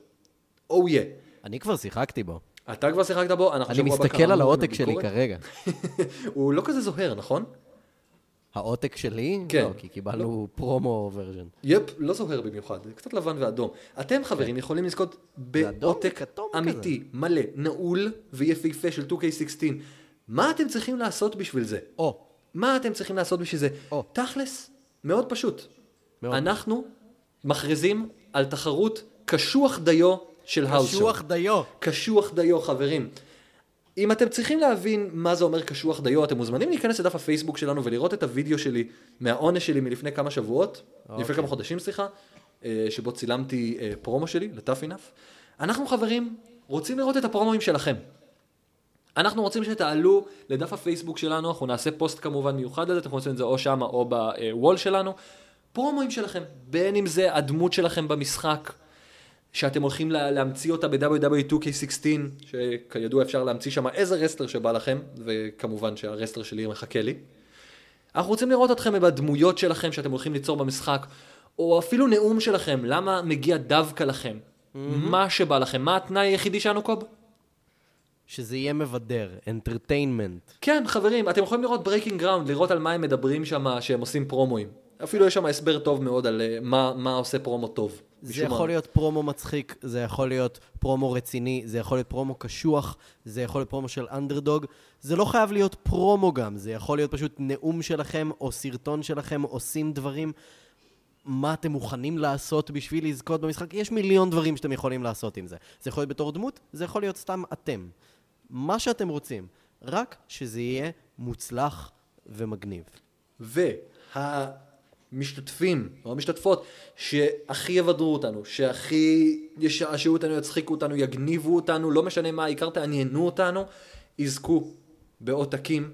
או oh יא. Yeah. אני כבר שיחקתי בו. אתה כבר שיחקת בו, אנחנו אני שבוע הבא מסתכל על כאמור העותק שלי בביקורת. כרגע. הוא לא כזה זוהר, נכון? העותק שלי? כן. לא, כי קיבלנו פרומו ורז'ן. יפ, לא זוהר במיוחד, קצת לבן ואדום. אתם חברים יכולים לזכות אדום בעותק כן. וכתום כזה. אמיתי, מלא, נעול ויפהפה של 2K16. מה אתם צריכים לעשות בשביל זה? או, מה אתם צריכים לעשות בשביל זה? או. תכלס, מאוד פשוט. מאוד. אנחנו מכריזים על תחרות קשוח דיו של האוס. קשוח דיו. קשוח דיו, חברים. אם אתם צריכים להבין מה זה אומר קשוח דיו, אתם מוזמנים להיכנס לדף הפייסבוק שלנו ולראות את הוידאו שלי מהעונש שלי מלפני כמה שבועות, לפני כמה חודשים, סליחה, אה, שבו צילמתי אה, פרומו שלי, ל-tough enough. אנחנו, חברים, רוצים לראות את הפרומואים שלכם. אנחנו רוצים שתעלו לדף הפייסבוק שלנו, אנחנו נעשה פוסט כמובן מיוחד לזה, אתם יכולים לעשות את זה או שמה או בוול שלנו. פרומואים שלכם, בין אם זה הדמות שלכם במשחק, שאתם הולכים לה, להמציא אותה E ב-WWE 2K16, שכידוע אפשר להמציא שם איזה רסטר שבא לכם, וכמובן שהרסטר שלי מחכה לי. אנחנו רוצים לראות אתכם בדמויות שלכם שאתם הולכים ליצור במשחק, או אפילו נאום שלכם, למה מגיע דווקא לכם, mm-hmm. מה שבא לכם, מה התנאי היחידי שלנו קוב? שזה יהיה מבדר, אנטרטיינמנט. כן, חברים, אתם יכולים לראות ברייקינג גראונד, לראות על מה הם מדברים שם, שהם עושים פרומואים. אפילו יש שם הסבר טוב מאוד על אה, מה, מה עושה פרומו טוב. זה משום מה. יכול להיות פרומו מצחיק, זה יכול להיות פרומו רציני, זה יכול להיות פרומו קשוח, זה יכול להיות פרומו של אנדרדוג. זה לא חייב להיות פרומו גם, זה יכול להיות פשוט נאום שלכם, או סרטון שלכם, עושים דברים. מה אתם מוכנים לעשות בשביל לזכות במשחק? יש מיליון דברים שאתם יכולים לעשות עם זה. זה יכול להיות בתור דמות, זה יכול להיות סתם אתם. מה שאתם רוצים, רק שזה יהיה מוצלח ומגניב. והמשתתפים או המשתתפות שהכי יבדרו אותנו, שהכי ישעשעו אותנו, יצחיקו אותנו, יגניבו אותנו, לא משנה מה, העיקר תעניינו אותנו, יזכו בעותקים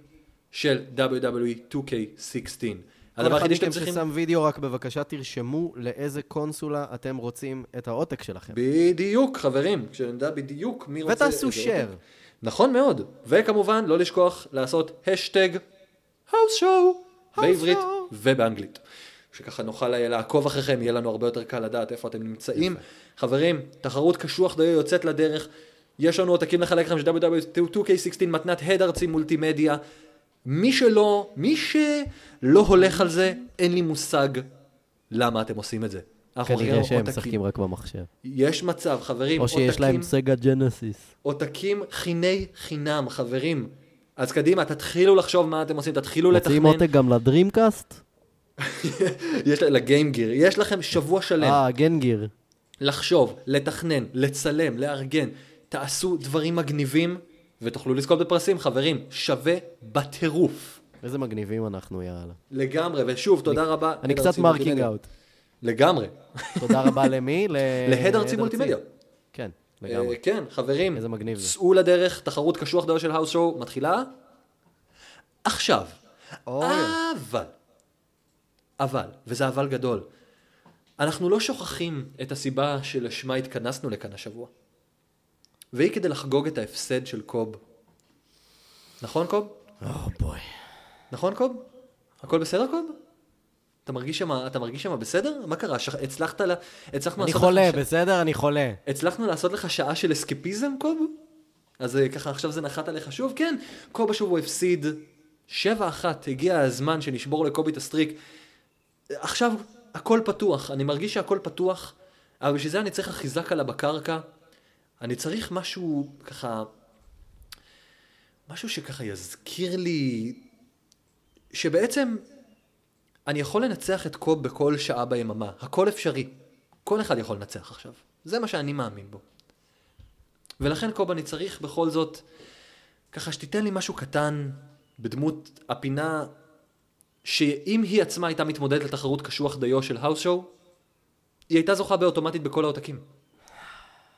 של E WWE 2K16. הדבר היחידי שאתם צריכים... כל אחד מכם ששם וידאו, רק בבקשה תרשמו לאיזה קונסולה אתם רוצים את העותק שלכם. בדיוק, חברים, כשנדע בדיוק מי רוצה... ותעשו איזה share. עותק. נכון מאוד. וכמובן, לא לשכוח לעשות השטג האוס שואו כן, בעברית show. ובאנגלית. שככה נוכל אה, לעקוב אחריכם, יהיה לנו הרבה יותר קל לדעת איפה אתם נמצאים. חברים, תחרות קשוח דיו יוצאת לדרך. יש לנו עותקים לחלק לכם של WW2K16 מתנת הד ארצי מולטימדיה. מי שלא, מי שלא הולך על זה, אין לי מושג למה אתם עושים את זה. אנחנו כנראה הולכים שהם עותקים. משחקים רק במחשב. יש מצב, חברים, או שיש להם סגה ג'נסיס. עותקים חיני חינם, חברים. אז קדימה, תתחילו לחשוב מה אתם עושים, תתחילו מוציאים לתכנן. עותק גם לדרימקאסט? יש ל- לגיימגיר, יש לכם שבוע שלם אה, גנגיר. לחשוב, לתכנן, לצלם, לארגן. תעשו דברים מגניבים ותוכלו לזכות בפרסים, חברים. שווה בטירוף. איזה מגניבים אנחנו, יאללה. לגמרי, ושוב, תודה רבה. אני הד קצת ארצי מרקינג אה, לא, מולטימדיה. אאוט. לגמרי. תודה רבה למי? ל- להד ארצי להד מולטימדיה. כן, אה, לגמרי. כן, חברים. איזה מגניב זה. צאו לדרך, תחרות קשוח דיו של האוס שואו מתחילה עכשיו. אוי. אבל, אבל, וזה אבל גדול, אנחנו לא שוכחים את הסיבה שלשמה התכנסנו לכאן השבוע. והיא כדי לחגוג את ההפסד של קוב. נכון קוב? או בואי. נכון קוב? הכל בסדר קוב? אתה מרגיש שם, אתה מרגיש שם בסדר? מה קרה? שח... הצלחת ל... הצלחנו אני לעשות חולה, לך ש- בסדר? אני חולה. הצלחנו לעשות לך שעה של אסקפיזם, קוב? אז אה, ככה עכשיו זה נחת עליך שוב? כן, קוב השוב הוא הפסיד 7-1, הגיע הזמן שנשבור לקובי את הסטריק. עכשיו הכל פתוח, אני מרגיש שהכל פתוח, אבל בשביל זה אני צריך אחיזה קלה בקרקע. אני צריך משהו ככה, משהו שככה יזכיר לי שבעצם אני יכול לנצח את קוב בכל שעה ביממה, הכל אפשרי. כל אחד יכול לנצח עכשיו. זה מה שאני מאמין בו. ולכן קוב, אני צריך בכל זאת, ככה שתיתן לי משהו קטן בדמות הפינה, שאם היא עצמה הייתה מתמודדת לתחרות קשוח דיו של האוס שואו, היא הייתה זוכה באוטומטית בכל העותקים.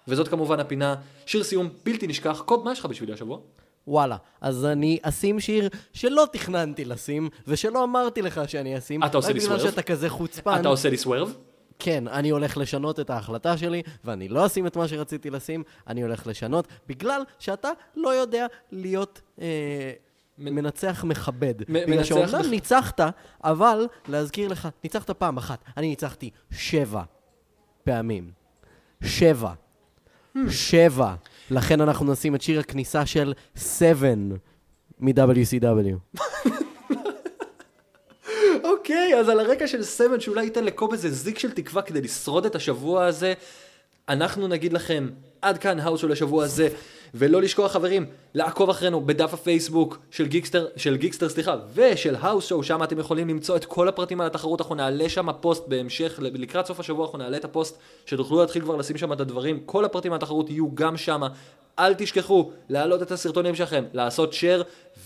וזאת כמובן הפינה, שיר סיום בלתי נשכח. קוב, מה יש לך בשבילי השבוע? וואלה, אז אני אשים שיר שלא תכננתי לשים, ושלא אמרתי לך שאני אשים. אה, אתה עושה לי רק סוורב? בגלל שאתה כזה חוצפן. אתה עושה לי סוורב? כן, אני הולך לשנות את ההחלטה שלי, ואני לא אשים את מה שרציתי לשים, אני הולך לשנות, בגלל שאתה לא יודע להיות אה, מנצח מכבד. בגלל מנצח שאומנם מכ- ניצחת, אבל להזכיר לך, ניצחת פעם אחת, אני ניצחתי שבע פעמים. שבע. Hmm. שבע. לכן אנחנו נשים את שיר הכניסה של 7 מ-WCW. אוקיי, אז על הרקע של סמל שאולי ייתן לקוב איזה זיק של תקווה כדי לשרוד את השבוע הזה, אנחנו נגיד לכם, עד כאן האוס של השבוע הזה, ולא לשכוח חברים, לעקוב אחרינו בדף הפייסבוק של גיקסטר, של גיקסטר סליחה, ושל האוס שואו, שם אתם יכולים למצוא את כל הפרטים על התחרות, אנחנו נעלה שם פוסט בהמשך, ל- לקראת סוף השבוע אנחנו נעלה את הפוסט, שתוכלו להתחיל כבר לשים שם את הדברים, כל הפרטים על התחרות יהיו גם שם. אל תשכחו להעלות את הסרטונים שלכם, לעשות share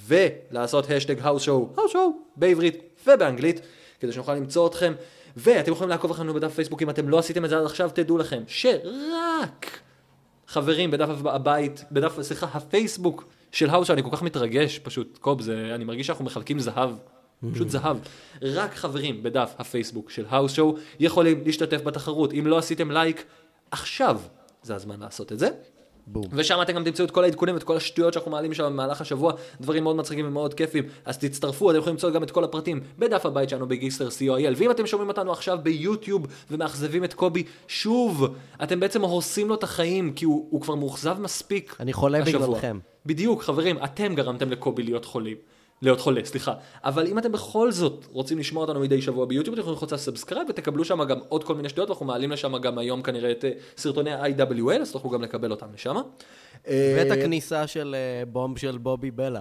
ולעשות השטג האוס שואו, האוס שואו, בעברית ובאנגלית, כדי שנוכל למצוא אתכם. ואתם יכולים לעקוב אחרינו בדף פייסבוק, אם אתם לא עשיתם את זה עד עכשיו, תדעו לכם שרק חברים בדף הב- הבית, בדף, סליחה, הפייסבוק של האוס, אני כל כך מתרגש, פשוט, קוב, זה, אני מרגיש שאנחנו מחלקים זהב. פשוט זהב. רק חברים בדף הפייסבוק של האוס שואו יכולים להשתתף בתחרות. אם לא עשיתם לייק, עכשיו זה הזמן לעשות את זה. בום. ושם אתם גם תמצאו את כל העדכונים ואת כל השטויות שאנחנו מעלים שם במהלך השבוע, דברים מאוד מצחיקים ומאוד כיפים, אז תצטרפו, אתם יכולים למצוא גם את כל הפרטים בדף הבית שלנו בגיסטר co.il, ואם אתם שומעים אותנו עכשיו ביוטיוב ומאכזבים את קובי, שוב, אתם בעצם הורסים לו את החיים, כי הוא, הוא כבר מאוכזב מספיק אני חולה השבוע. בגללכם. בדיוק, חברים, אתם גרמתם לקובי להיות חולים. להיות חולה, סליחה. אבל אם אתם בכל זאת רוצים לשמוע אותנו מדי שבוע ביוטיוב, אתם יכולים לחוץ לסאבסקרייב ותקבלו שם גם עוד כל מיני שטויות, ואנחנו מעלים לשם גם היום כנראה את אה, סרטוני ה-IWL, אז תוכלו גם לקבל אותם לשם. ואת הכניסה של אה, בומב של בובי בלה.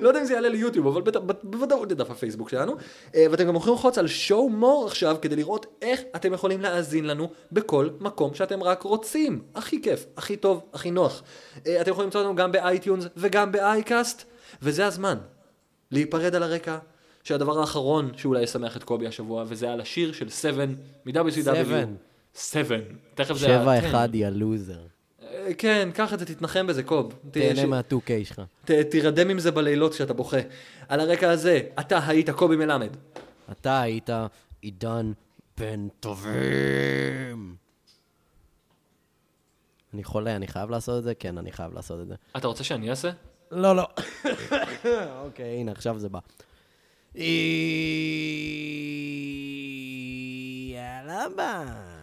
לא יודע אם זה יעלה ליוטיוב, אבל בטח- ב- בוודאות לדף הפייסבוק שלנו. אה, ואתם גם יכולים ללחוץ על show more עכשיו, כדי לראות איך אתם יכולים להאזין לנו בכל מקום שאתם רק רוצים. הכי כיף, הכי טוב, הכי נוח. אה, אתם יכולים למצוא אותנו גם באייטיונס וגם באייקאסט, וזה הזמן להיפרד על הרקע. שהדבר האחרון שאולי ישמח את קובי השבוע, וזה על השיר של 7 מ-WCW. Seven. 7. תכף זה ה- כן. שבע 10. אחד, יא לוזר. אה, כן, קח את זה, תתנחם בזה, קוב. תהנה ש- מה-2K שלך. ת, תירדם עם זה בלילות כשאתה בוכה. על הרקע הזה, אתה היית קובי מלמד. אתה היית עידן בן טובים. אני חולה, אני חייב לעשות את זה? כן, אני חייב לעשות את זה. אתה רוצה שאני אעשה? לא, לא. אוקיי, הנה, עכשיו זה בא. יאללה ביי.